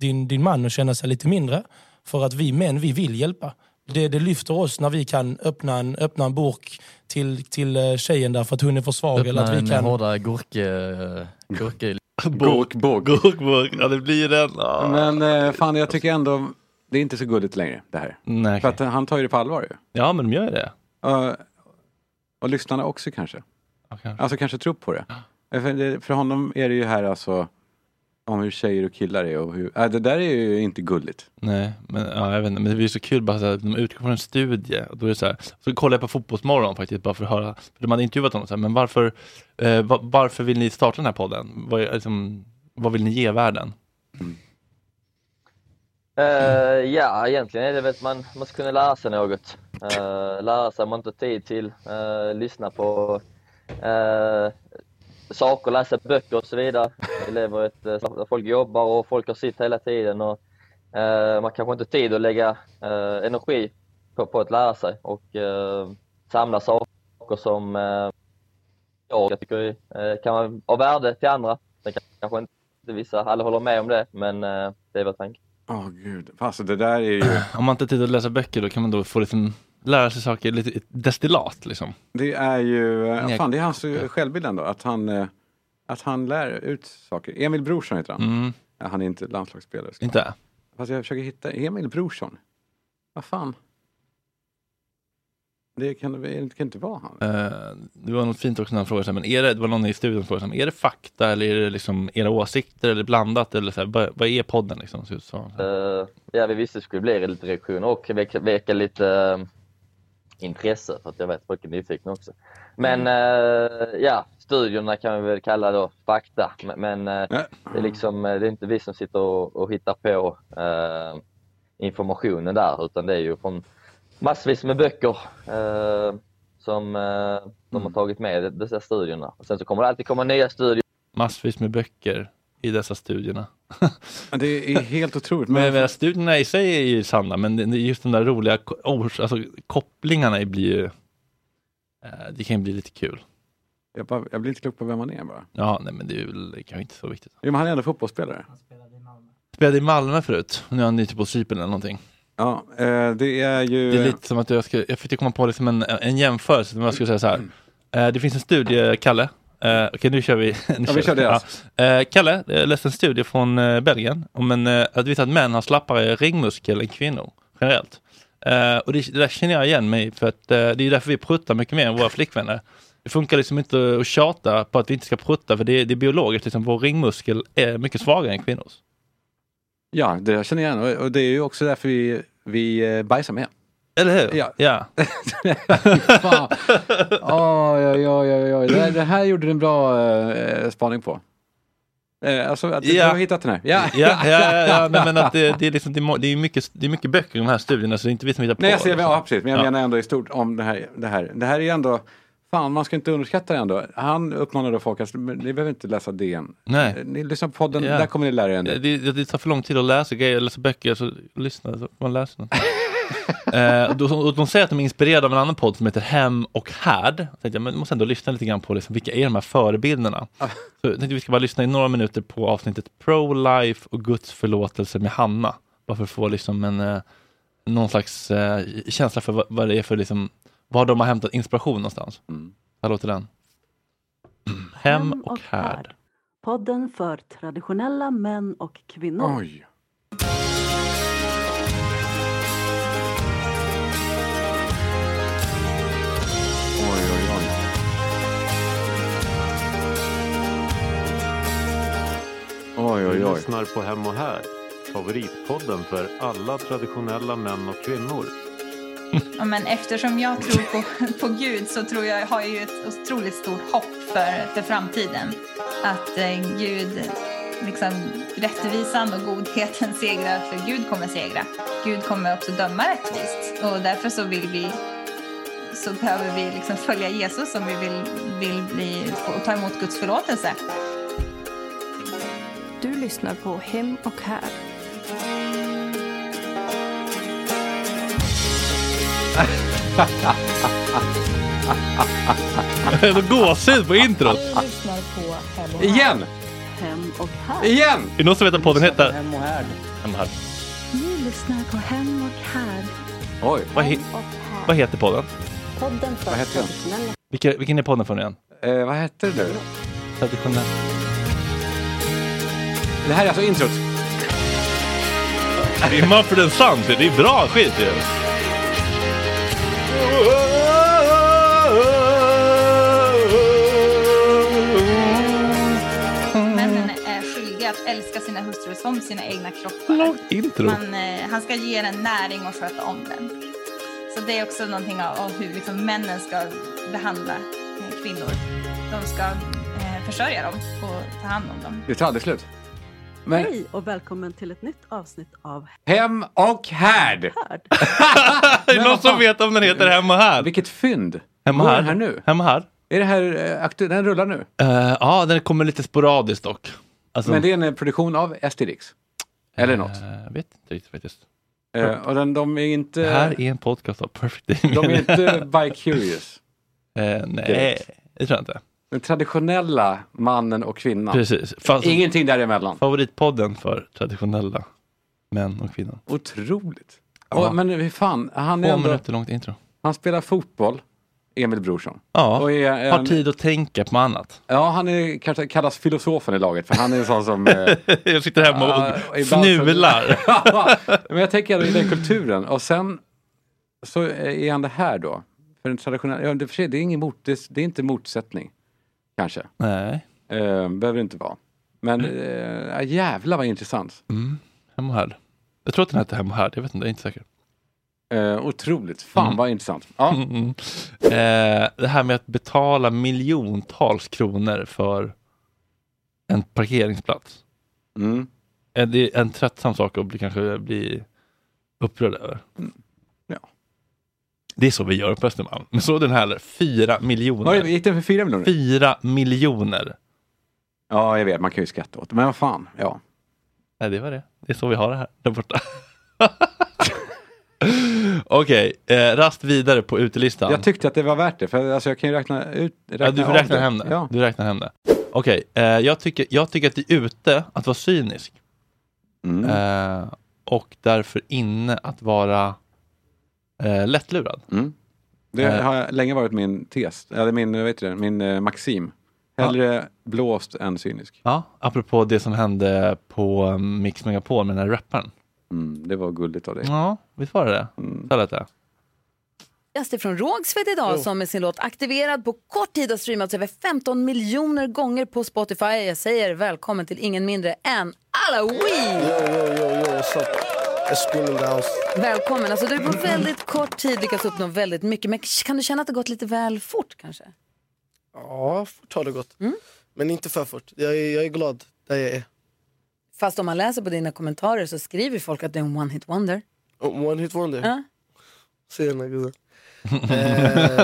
din, din man att känna sig lite mindre. För att vi män, vi vill hjälpa. Det, det lyfter oss när vi kan öppna en, öppna en burk till, till eh, tjejen där för att hon är för svag. Öppna Eller att en vi kan... hårdare gurke... eh, gurke. Bok, bok. Bok, bok. Ja, det blir den. Ja. Men eh, fan, jag tycker ändå det är inte så gulligt längre det här. Nej, För att han tar ju det på allvar ju. Ja, men de gör ju det. Eh, och lyssnarna också kanske. Alltså kanske tror på det. Eh, För, det- för honom är det ju här alltså om hur tjejer och killar är och hur... Äh, det där är ju inte gulligt. Nej, men, ja, jag vet inte, men det blir så kul bara så här, de utgår från en studie. Och då är det så, här, så kollar jag på Fotbollsmorgon faktiskt bara för att höra, för de hade intervjuat honom så här, men varför, eh, va- varför vill ni starta den här podden? Vad, är- liksom, vad vill ni ge världen? Eh, ja, egentligen är det väl att man måste kunna lära sig något. Eh, lära sig om man inte har tid till. eh, lyssna på eh, saker, läsa böcker och så vidare. Vi lever i ett eh, samhälle där folk jobbar och folk har sitt hela tiden. Och, eh, man kanske inte har tid att lägga eh, energi på, på att lära sig och eh, samla saker som eh, jag tycker är, eh, kan vara av värde till andra. Sen kanske inte vissa alla håller med om det, men eh, det är vår tanke. Åh gud, Fan, alltså det där är ju... [CLEARS THROAT] Om man inte har tid att läsa böcker då kan man då få liksom, lära sig saker, lite ett destillat liksom. Det är ju, eh, Nej. fan det är hans eh, självbild ändå, att han, eh, att han lär ut saker. Emil Brorsson heter han. Mm. Ja, han är inte landslagsspelare. ska Inte? jag- Fast jag försöker hitta Emil Brorsson. Vad fan? Det kan, det kan inte vara han. Eh, det var något fint också när han frågade, så här, men är det, det var någon i studion som frågade, så här, men är det fakta eller är det liksom era åsikter eller blandat eller så här, vad, vad är podden liksom? Så, så. Eh, ja, vi visste det skulle bli lite reaktioner och väcka, väcka lite eh, intresse för att jag vet folk är nyfikna också. Men eh, ja, studierna kan vi väl kalla då fakta. Men- Men eh, det, är liksom, eh, det är inte vi som sitter och, och hittar på eh, informationen där utan det är ju från massvis med böcker eh, som eh, de har tagit med i dessa studierna. Och sen så kommer det alltid komma nya studier. Massvis med böcker i dessa studierna. Det är helt [LAUGHS] otroligt. Men, men, studierna i sig är ju sanna, men det- det är just de där roliga ko- ors- alltså, kopplingarna blir ju, eh, det kan ju bli lite kul. Jag, bara, jag blir inte klok på vem han är bara. Ja, nej men det är väl det är kanske inte så viktigt. Jo, men han är ändå fotbollsspelare. Spelade i Malmö förut, nu är han ute på Cypern eller någonting. Ja, eh, det är ju... Det är lite som att jag ska, jag fick komma på liksom en, en jämförelse, men jag skulle säga så här. Eh, det finns en studie, Kalle. Eh, Okej, nu kör vi. [LAUGHS] nu vi kör det, alltså. Ja. Eh, Kalle, jag läste en studie från eh, Belgien om en, eh, att vissa att män har slappare ringmuskel än kvinnor, generellt. Eh, och det, det där känner jag igen mig i, för att eh, det är därför vi pruttar mycket mer än våra flickvänner. Det funkar liksom inte att tjata på att vi inte ska prutta, för det, det är biologiskt, liksom, vår ringmuskel är mycket svagare än kvinnors. Ja, det jag känner igen. Och- Och det är ju också därför vi, vi eh, bajsar med. Eller hur? Ja. ja. [LAUGHS] [LAUGHS] Fan. Oj, oj, oj, oj, oj. Det, här- det här gjorde du en bra eh, spaning på. Eh, alltså, att du har hittat den här. Ja, ja, ja, ja, nej, men att [LAUGHS] det, det, är liksom, det, är må- det, är mycket, det är mycket böcker i de här studierna, så det är inte vi som hittar på. Nej, jag ser, liksom. ja, precis. Men jag Ja. menar ändå i stort om det här, det här. Det här är ju ändå, fan man ska inte underskatta det ändå. Han uppmanar då folk att, men ni behöver inte läsa DN. Nej. Eh, Ni lyssnar på podden, Ja. där kommer ni lära er en det, del. det, det tar för lång tid att läsa grejer, läsa böcker, så lyssna, så man läser [LAUGHS] något. eh, och då, och de säger att de är inspirerade av en annan podd som heter Hem och Härd. Jag tänkte jag, men jag måste ändå lyssna lite grann på liksom, vilka är de här [LAUGHS] förebilderna? så jag tänkte vi ska bara lyssna i några minuter på avsnittet Pro-Life och Guds förlåtelse med Hanna. Bara för att få liksom en, eh, någon slags eh, känsla för vad, vad det är för, liksom, var de har hämtat inspiration någonstans. Mm. Här låter den. [CLEARS THROAT] Hem och Härd. Podden för traditionella män och kvinnor. Oj. Oj, oj, oj. Oj, oj, Du oj. lyssnar på Hem och Här, favoritpodden för alla traditionella män och kvinnor. Ja, men eftersom jag tror på, på Gud så tror jag, har jag ju ett otroligt stort hopp för, för framtiden. Att eh, Gud, liksom, rättvisan och godheten segrar, för Gud kommer segra. Gud kommer också döma rättvist och därför så vill vi så behöver vi liksom följa Jesus om vi vill, vill bli, få, ta emot Guds förlåtelse. Du lyssnar på Hem och Här. Jag har gåshud på introt. lyssnar på Hem och Igen! Hem och Här. Igen! Är det någon som vet att podden heter? Hem och Härd. Hem och Härd. Ni lyssnar på Hem och Här. Oj. Vad, he- vad heter podden? Podden för Vad heter den? traditionella Vilken, vilken är podden från igen? Eh, vad hette det nu? Traditionell. Det här är alltså introt. Det är Mumford and Sons, det är bra skit ju. Männen är skyldiga att älska sina hustrur som sina egna kroppar. intro. Man, eh, han ska ge den näring och sköta om den. Så det är också någonting av, av hur liksom, männen ska behandla eh, kvinnor. De ska eh, försörja dem och ta hand om dem. Det tar aldrig slut. Men Hej och välkommen till ett nytt avsnitt av hem och härd. [LAUGHS] Är det någon som vet om den heter Hem och Härd? Vilket fynd! Hem och Går Härd. den här nu? Hem och Härd. Är det här eh, aktu- Den rullar nu? Eh, ja, den kommer lite sporadiskt dock. Alltså, Men det är en eh, produktion av Estirix? Eller något? Jag vet inte riktigt faktiskt. Eh, och den, de är inte... Det här är en podcast av Perfect De [LAUGHS] är inte by curious? Eh, nej, Direkt. det tror jag inte. Den traditionella mannen och kvinnan. Precis. Fast- Ingenting däremellan. Favoritpodden för traditionella män och kvinnor. Otroligt. Ja. Och, men hur fan, han, är Två ändå, minuter långt intro. han spelar fotboll, Emil Brorsson. Ja, Och är en- har tid att tänka på annat. [LAUGHS] Ja, han är, kanske kallas filosofen i laget för han är en sån [LAUGHS] som... eh, Jag sitter hemma och [LAUGHS] Ja, ibland så- fnular. [LAUGHS] Ja, Men jag tänker ändå i den kulturen. Och sen så är han det här då. För den traditionella, ja, det, för sig, det, är ingen mot, det, det är inte motsättning, kanske. Nej. Eh, behöver det inte vara. Men eh, jävlar vad intressant. Mm. Hem och härd. Jag tror att den hette Hem och härd, jag vet inte, jag är inte säker. Eh, otroligt. Fan Mm. vad intressant. Ja. Mm. Eh, det här med att betala miljontals kronor för en parkeringsplats. Mm. Är det en tröttsam sak att bli, kanske bli upprörd över? Mm. Ja. Det är så vi gör på Östermalm. Men så den här, fyra Vad är det, miljoner. gick den för fyra miljoner? Fyra miljoner. Ja, jag vet. Man kan ju skratta åt det. Men vad fan, ja. Nej, det var det. Det är så vi har det här, där borta. [LAUGHS] Okej, eh, rast vidare på utelistan. Jag tyckte att det var värt det, för alltså, jag kan ju räkna ut. Räkna ja, du av räknar hem det. Ja. Du räknar hem det. Okej, eh, jag, tycker, jag tycker att det är ute att vara cynisk. Mm. Eh, och därför inne att vara eh, lättlurad. Mm. Det Eh, har länge varit min tes, eller min, vad heter det, min eh, maxim. Hellre blåst än cynisk. Ja, apropå det som hände på eh, Mix Megapol med den här rapparen. Mm, det var gulligt av dig. Mm. Ja, visst var det det? Så lät det. Just Alltså, från Rågsved idag Jo. som med sin låt Aktiverad på kort tid har streamats över 15 miljoner gånger på Spotify. Jag säger välkommen till ingen mindre än Alawi! Yo, yo, yo, what's up? It's Screaming Gals. Välkommen! Alltså, du har på Mm. väldigt kort tid lyckats uppnå väldigt mycket. Men kan du känna att det gått lite väl fort kanske? Ja, fort har det gått. Mm. Men inte för fort. Jag är, jag är glad där jag är. Fast om man läser på dina kommentarer så skriver folk att det är en one hit wonder. Oh, One hit wonder. Ja. Tjena gubben. [LAUGHS]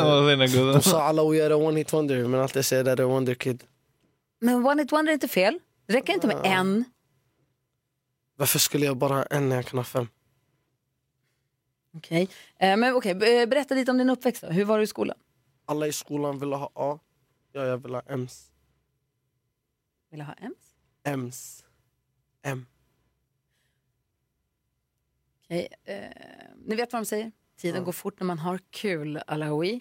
Vad menar gubben? de sa alla att göra one hit wonder, men allt jag säger där är wonder kid. Men one hit wonder är inte fel. Det räcker inte Ah. med en. Varför skulle jag bara ha en när jag kan ha fem? Okej, Eh, men okej, be- eh, berätta lite om din uppväxt då. Hur var du i skolan? Alla i skolan ville ha A. Ja, jag vill ha M's. Vill du ha en? M's. M. Okej, eh, ni vet vad de säger. Tiden går fort när man har kul, Alaoui.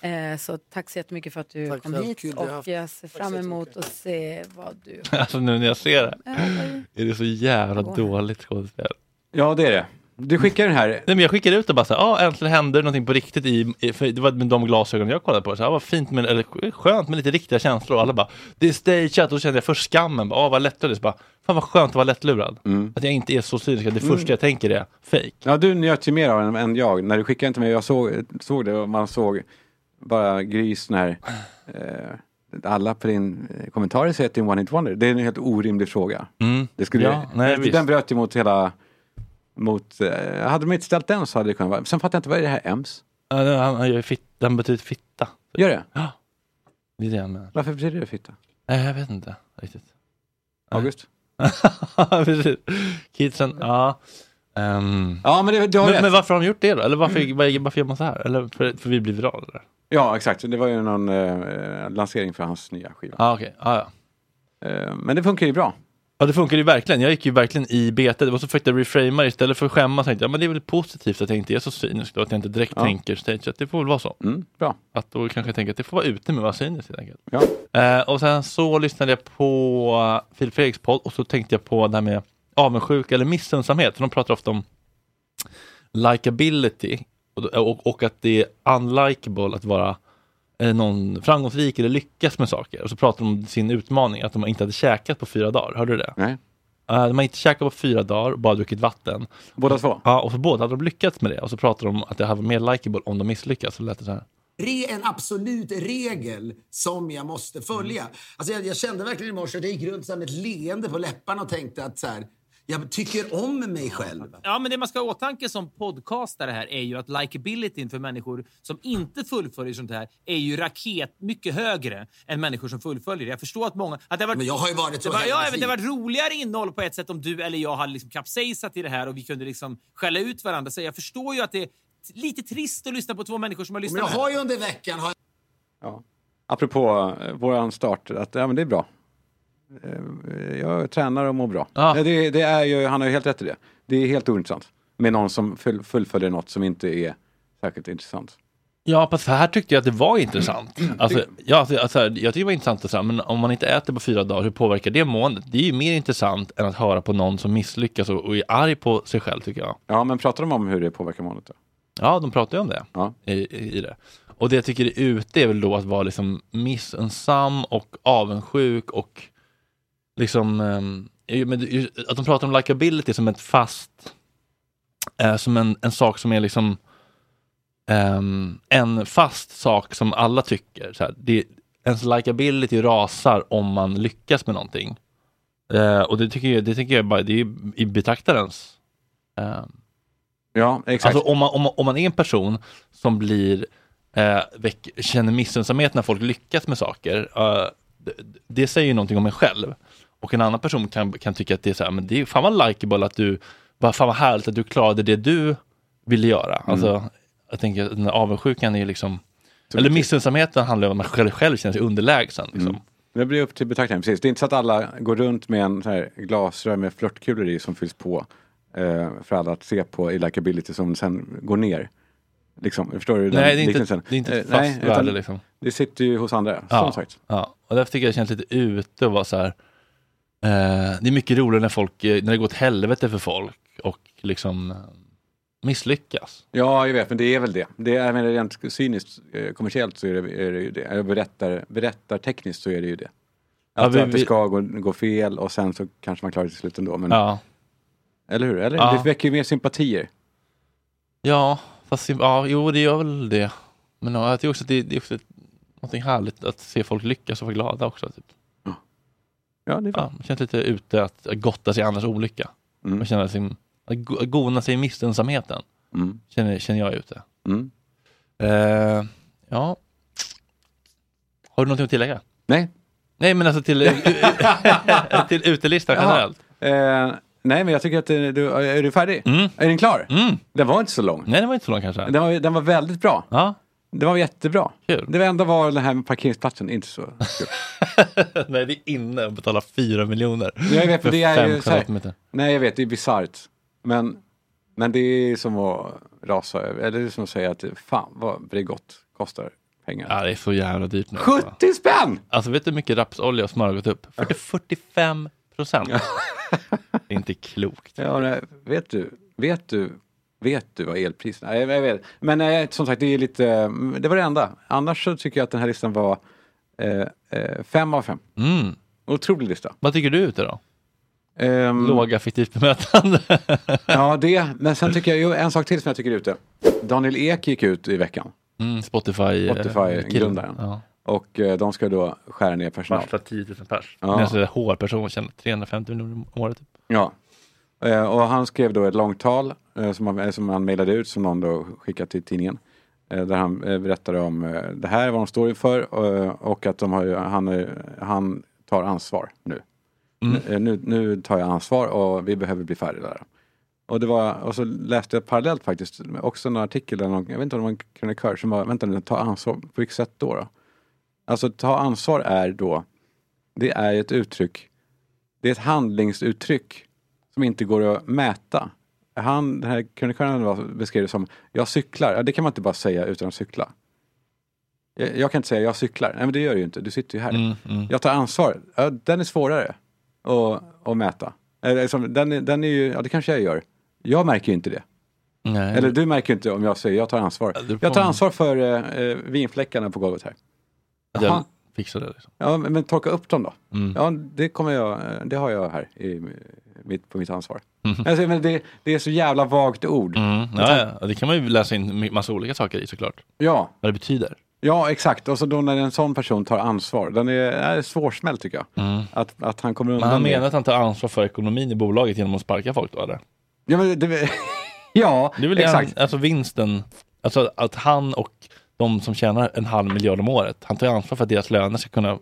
Eh, så tack så jättemycket för att du Tack kom för allt hit kul vi har och haft. jag ser Tack så fram emot att se vad du... [LAUGHS] Alltså nu när jag ser det Ja, vad- är det så jävla dåligt skådespel. Ja, det är det. Du skickar den här. Nej, men jag skickar ut det bara så här, ja äntligen händer någonting på riktigt i, i- för det var med de glasögonen jag kollade på, så här, vad fint men, eller skönt med lite riktiga känslor och alla bara, det är stageat och då kände jag först skammen, bara, ah, vad lättlurad, Så bara, fan vad skönt att vara lättlurad. Att jag inte är så cynisk, att det Mm. första jag tänker är fake. Ja, du njöt ju mer av den än jag. När du skickade den till mig, jag såg, såg det och man såg bara Grys när eh, alla på din eh, kommentarer säger att det är en one-hit wonder. Det är en helt orimlig fråga. Mm. Det skulle, Ja, nej, den visst. bröt ju mot hela... Mot, eh, hade de inte ställt den så hade det kunnat vara... Sen fattar jag inte, vad är det här EMS? Ja, den- han, han gör ju fit, den betyder fitta. Gör det? Ja. Det är det jag menar. Varför betyder det fitta? Nej, jag vet inte riktigt. August? [LAUGHS] Precis. Kidsen, ja. Ehm, Ja, men det, du har men, rätt. men varför har de gjort det då? Eller varför, var- varför gör man så här? Eller för, för vi blir virala? eller? Ja, exakt. Det var ju någon eh, lansering för hans nya skiva. Ah, okay. ah, ja. Eh, Men det funkar ju bra. Ja, det funkar ju verkligen. Jag gick ju verkligen i bete. Det var så försökte jag reframa det. istället för att skämmas. Tänkte, jag, ja, men det är väl positivt att jag inte är så cynisk då, att jag inte direkt Ja. Mm, tänker stage. Att det får väl vara så. bra. Att då kanske jag tänker att det får vara ute med att vara cynisk helt enkelt. Ja. Eh, och sen så lyssnade jag på Filip Fredriks podd och så tänkte jag på det här med avundsjuka eller missunnsamhet. För de pratar ofta om likability och, och, och att det är unlikable att vara eh, någon framgångsrik eller lyckas med saker. Och så pratar de om sin utmaning, att de inte hade käkat på fyra dagar. Hörde du det? Eh, Nej. de har inte käkat på fyra dagar, bara druckit vatten. Båda två? Ja, och så båda hade de lyckats med det. Och så pratar de om att det här var mer likable om de misslyckas. Så lät det så här. re, en absolut regel som jag måste följa. Alltså jag, jag kände verkligen i morse att jag gick runt så här med ett leende på läpparna och tänkte att så här, jag tycker om mig själv. Ja, men det man ska ha i åtanke som podcastare här är ju att likabilityn för människor som inte fullföljer sånt här är ju raket mycket högre än människor som fullföljer det. Jag förstår att många... Att det har varit, Men jag har ju varit så det var, hela ja, mitt jag vet, Det liv. var roligare innehåll på ett sätt om du eller jag hade liksom kapsejsat i det här och vi kunde liksom skälla ut varandra. Så jag förstår ju att det är t- lite trist att lyssna på två människor som har lyssnat. Men jag har ju under veckan... Har... Apropå eh, våran start, att ja, men det är bra. Eh, Jag tränar och mår bra. Ja, Det, det är ju, han har ju helt rätt i det. Det är helt ointressant med någon som full, fullföljer något som inte är särskilt intressant. Ja, fast här tyckte jag att det var intressant. Alltså, ja, alltså, alltså, jag tycker det var intressant, och så här, men om man inte äter på fyra dagar, hur påverkar det måendet? Det är ju mer intressant än att höra på någon som misslyckas och, och är arg på sig själv, tycker jag. Ja, men pratar de om hur det påverkar måendet? Då? Ja, de pratar ju om det i, i, i det. Och det jag tycker är ute är väl då att vara liksom missunnsam och avundsjuk och liksom, ehm, ju- men det- ju- att de pratar om likability som ett fast, eh, som en, en sak som är liksom ehm, en fast sak som alla tycker. Så här, det, ens likability rasar om man lyckas med någonting. Eh, och det tycker jag, det tycker jag bara, det är ju i betraktarens ehm, Ja, exakt. Alltså om man, om, man, om man är en person som blir, eh, väck, känner missunnsamhet när folk lyckas med saker, eh, det, det säger ju någonting om en själv. Och en annan person kan, kan tycka att det är så här, men det är fan vad likeable att du, bara, fan vad härligt att du klarade det du ville göra. Mm. Alltså, jag tänker att den här avundsjukan är ju liksom, eller missunnsamheten handlar ju om att man själv, själv känner sig underlägsen. Liksom. Mm. Det blir upp till betraktaren, precis. Det är inte så att alla går runt med en så här glasrör med flörtkulor i som fylls på eh, för alla att se på i likability som sen går ner. Liksom, förstår du den Nej, det är inte- liknelsen? det är inte ett Eh, nej, fast utan värde, liksom. Det sitter ju hos andra, som sagt. Ja. Och därför tycker jag det känns lite ute att vara så här. Eh, det är mycket roligare när, folk, eh, när det går åt helvete för folk och liksom eh, misslyckas. Ja, jag vet, men det är väl det. det är, jag menar, rent cyniskt eh, kommersiellt så är det, är det ju det. Eller berättar, berättartekniskt så är det ju det. Ja, Att, vi- att det vi- ska gå, gå fel och sen så kanske man klarar det till slut ändå. Men, Ja. [LAUGHS] Eller hur? Eller, Ja. Det väcker ju mer sympatier. Ja, fast ja, jo det gör väl det. Men ja, jag tycker också att det, det är också ett, någonting härligt att se folk lyckas och vara glada också. Typ. Ja, det är ja, man känns lite ute att gotta sig i andras olycka. Mm. Man känner sin, att go- att gona sig i missunnsamheten. Mm. Känner, känner jag ute. Mm. Eh, ja. Har du någonting att tillägga? Nej. Nej, men alltså [LAUGHS] till, till utelistan Jaha. generellt. Eh, nej, men jag tycker att eh, du, är du färdig? Är den klar? Den var inte så lång. Mm. Nej, den var inte så lång kanske. Den var, den var väldigt bra. Ja. Den var jättebra. Kul. Det enda var den här med parkeringsplatsen, inte så kul. [LAUGHS] Nej, det är inne att betala fyra miljoner. Jag vet, för för det är fem ju så kvadratmeter. här, Nej, jag vet, det är bisarrt. Men, men det är som att rasa över, eller det är som att säga att fan vad Bregott kostar pengar. Ja, det är så jävla dyrt nu. 70 spänn! Alltså vet du hur mycket rapsolja och smör har gått upp? 40, 45 procent. det är inte klokt. Ja, nej, vet du, vet du, vet du vad elpriserna är? Jag, jag vet. Men eh, som sagt, det är lite, mm, det var det enda. Annars så tycker jag att den här listan var eh, eh, fem av fem. [LAUGHS] Mm. Otrolig lista. Vad tycker du ute då? Um, Låga fiktivt bemötande. [LAUGHS] ja, det. Men sen tycker jag ju en sak till som jag tycker är ute. Daniel Ek gick ut i veckan. Mm, Spotify. eh, Spotify-grundaren. killen. Ja. Och eh, de ska då skära ner personal. Varsla 10 000 pers. Ja. Ja. En HR-person tjänar 350 miljoner om året. Typ. Ja. Eh, Och han skrev då ett långt tal eh, som han, eh, som han mejlade ut som någon då skickade till tidningen. Eh, Där han eh, berättade om eh, det här, vad de står inför eh, och att de har, ju- han, är- han tar ansvar nu. Mm. Eh, Nu, nu tar jag ansvar och vi behöver bli färre lärare. Och, det var, och så läste jag parallellt faktiskt också en artikel, där någon, jag vet inte om det var en krönikör som var, vänta nu, ta ansvar, på vilket sätt då? då? Alltså ta ansvar är då, det är ett uttryck, det är ett handlingsuttryck som inte går att mäta. Han, den här krönikören var- beskrev det som, jag cyklar, ja, det kan man inte bara säga utan att cykla. Jag, jag kan inte säga, jag cyklar, nej men det gör du ju inte, du sitter ju här. Jag tar ansvar, ja, den är svårare att, att mäta. Eller, som- Den, är- den är ju, ja det kanske jag gör, jag märker ju inte det. Nej. Eller du märker ju inte om jag säger, jag tar ansvar. Jag tar ansvar för eh, eh, vinfläckarna på golvet här. Jaha. Jag fixar det. Liksom. Ja, men, men torka upp dem då. Mm. Ja, det, kommer jag, det har jag här i, mitt, på mitt ansvar. Mm. Alltså, men det, det är så jävla vagt ord. Ja, ja, det kan man ju läsa in my- massa olika saker i såklart. Ja. Vad det betyder. ja, exakt. Och så då när en sån person tar ansvar. Den är, är svårsmält tycker jag. Mm. Att, att han kommer Men undan han med- menar att han tar ansvar för ekonomin i bolaget genom att sparka folk då eller? Ja, men det, [LAUGHS] ja Det är väl exakt. exakt. alltså vinsten, alltså att han och de som tjänar en halv miljard om året, han tar ju ansvar för att deras löner ska kunna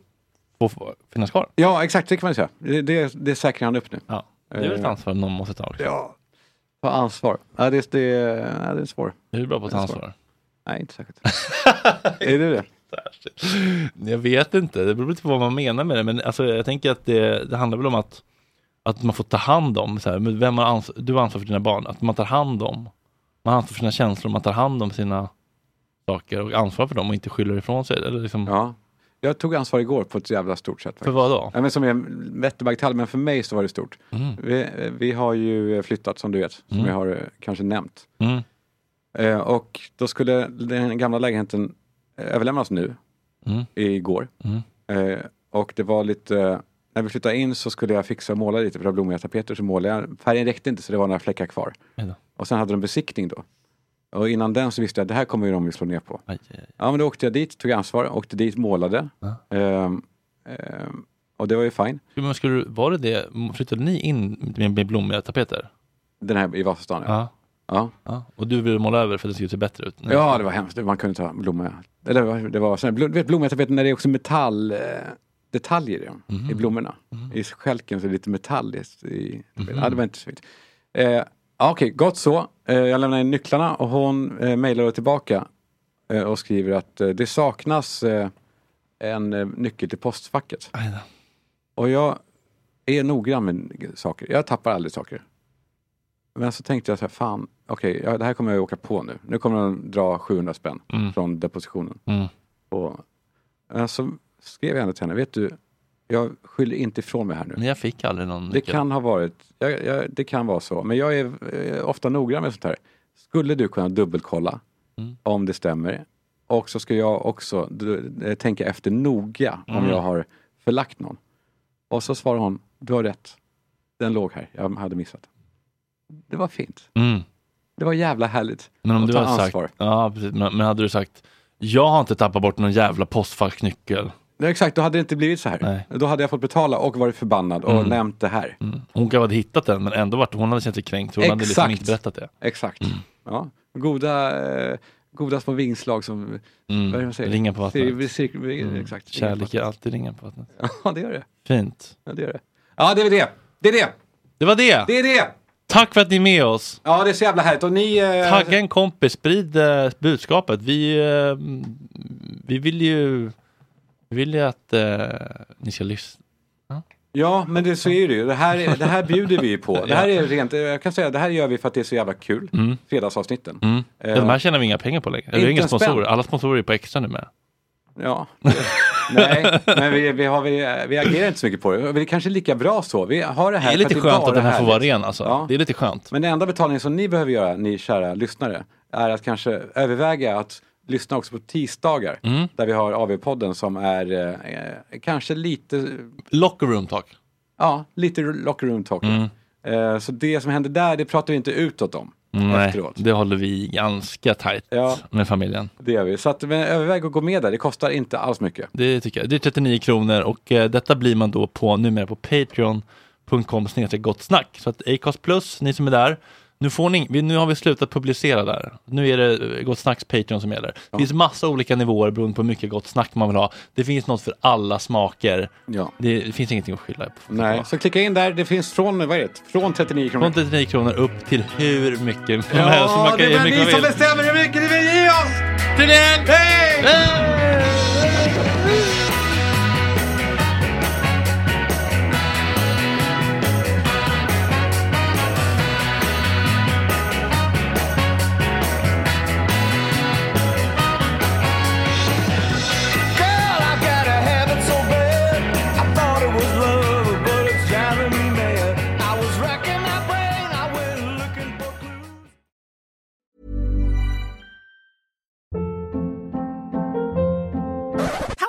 få, få finnas kvar. Ja, exakt. Det kan man säga. Det, det, det säkrar han upp nu. Eh, Ja, Det är väl ett ansvar någon måste ta liksom. också. Ja, ta ansvar. Ja, det, det, ja, det är svårt. Är du bra på att ta Det är svårt. ansvar? Nej, inte särskilt. är du det? [LAUGHS] Jag vet inte, det beror lite på vad man menar med det, men alltså, jag tänker att det, det handlar väl om att, att man får ta hand om, så här, men vem har ans- du har ansvar för dina barn, att man tar hand om, man har ansvar för sina känslor, man tar hand om sina saker och ansvar för dem och inte skyller ifrån sig. Eller liksom, Ja. Jag tog ansvar igår på ett jävla stort sätt. För vad då? Ja, men som är en Wetterbergtall, men för mig så var det stort. Mm. Vi, eh, vi har ju flyttat som du vet, som Mm. jag har eh, kanske nämnt. Mm. Eh, och då skulle den gamla lägenheten eh, överlämnas nu, Mm. igår. Mm. Eh, och det var lite, eh, när vi flyttade in så skulle jag fixa och måla lite, för det var blommiga tapeter, så målade jag. Färgen räckte inte så det var några fläckar kvar. Aj då. Och sen hade de besiktning då. Och innan den så visste jag att det här kommer ju de att slå ner på. Aj, aj, aj. Ja, men då åkte jag dit, tog ansvar, åkte dit, målade. Ehm, ehm, och det var ju fine. Men skulle, du- var det det, flyttade ni in med, med blommiga tapeter? Den här i Vasastan, ja. Ja. Ja. ja. Och du ville måla över för att det skulle se bättre ut? Ja, det var hemskt. Man kunde ta blommiga... Eller det var- det var sådana, du vet blommiga tapeter när det är också metalldetaljer i, dem, i blommorna. I skälken så är det lite metalliskt. I, mm. Ja, det var inte så fint. Eh, ja, Okej, gott så. Eh, Eh, Jag lämnar in nycklarna och hon eh, mejlar då tillbaka eh, och skriver att eh, det saknas eh, en eh, nyckel till postfacket. Och jag är noggrann med saker. Jag tappar aldrig saker. Men så tänkte jag så här, fan, okej, ja, det här kommer jag åka på nu. Nu kommer de dra 700 spänn från depositionen. Mm. Och, eh, så skrev jag ändå till henne, vet du, jag skyller inte ifrån mig här nu. Men jag fick aldrig någon Det kan ha varit, jag, jag, det kan vara så, men jag är eh, ofta noggrann med sånt här. Skulle du kunna dubbelkolla Mm. om det stämmer? Och så ska jag också du, eh, tänka efter noga om Mm. jag har förlagt någon. Och så svarar hon, du har rätt. Den låg här, jag hade missat. Det var fint. Mm. Det var jävla härligt. Men om att du ta hade sagt, ansvar. ja, precis, men, men hade du sagt, jag har inte tappat bort någon jävla postfacknyckel. Nej, exakt, då hade det inte blivit så här. Då hade jag fått betala och varit förbannad och Mm. nämnt det här. Hon kanske hade hittat den, men ändå varit, hon hade känt sig kränkt. Hon hade liksom Exakt. inte berättat det. Mm. Exakt. Ja. Goda, eh, goda små vingslag som... Mm. vad är det man säger? Ringar på vattnet. Cir- cir- Mm. Exakt. ringar på Kärlek är alltid ringar på vattnet. vattnet. Ja, det gör det. Fint. Ja, det gör det. Ja, det är det. Det är det. Det var det. Det är det. Tack för att ni är med oss. Ja, det är så jävla härligt. Och ni... Eh, Tagga en kompis, sprid eh, budskapet. Vi, eh, vi vill ju vi vill ju att eh, ni ska lyssna. Ja, men det, så är det ju. Det här, är- det här bjuder vi ju på. Det här är rent, jag kan säga det här gör vi för att det är så jävla kul. Mm. Fredagsavsnitten. Mm. Eh, De här tjänar vi inga pengar på längre. Det är inte inga en spänn. sponsorer. Alla sponsorer är på extra nu med. Eh, Ja. [LAUGHS] Nej, men vi, vi, har, vi, vi agerar inte så mycket på det. Det är kanske lika bra så. Vi har det Det här är för lite skönt bara att den här får härligt. vara ren alltså. Ja. Det är lite skönt. Men den enda betalningen som ni behöver göra, ni kära lyssnare, är att kanske överväga att lyssna också på tisdagar, Mm. där vi har AV-podden som är eh, kanske lite... Locker room talk. Ja, lite locker room talk. Eh, så det som händer där, det pratar vi inte utåt om. Mm. Nej, Efteråt. det håller vi ganska tajt Ja. med familjen. Det gör vi. Så att, men överväg att gå med där, det kostar inte alls mycket. Det tycker jag. Det är 39 kronor och eh, detta blir man då på numera på patreon.com snedstreck gott snack. Så att Acast plus, ni som är där, nu, får ni, vi- nu har vi slutat publicera där. Nu är det eh, Gott Snacks Patreon som gäller. Det finns massa olika nivåer beroende på hur mycket gott snack man vill ha. Det finns något för alla smaker. Det, det finns ingenting att skylla på. Nej, så klicka in där, det finns från, vad är det? från 39 kronor. Från 39 kronor upp till hur mycket som helst. Ja, Man kan det ge är mycket ni man som vill. bestämmer hur mycket ni vill ge oss! Till den! Hej! Girl, I got a habit so bad. I thought it was love, but it's driving me mad. I was racking my brain, I went looking for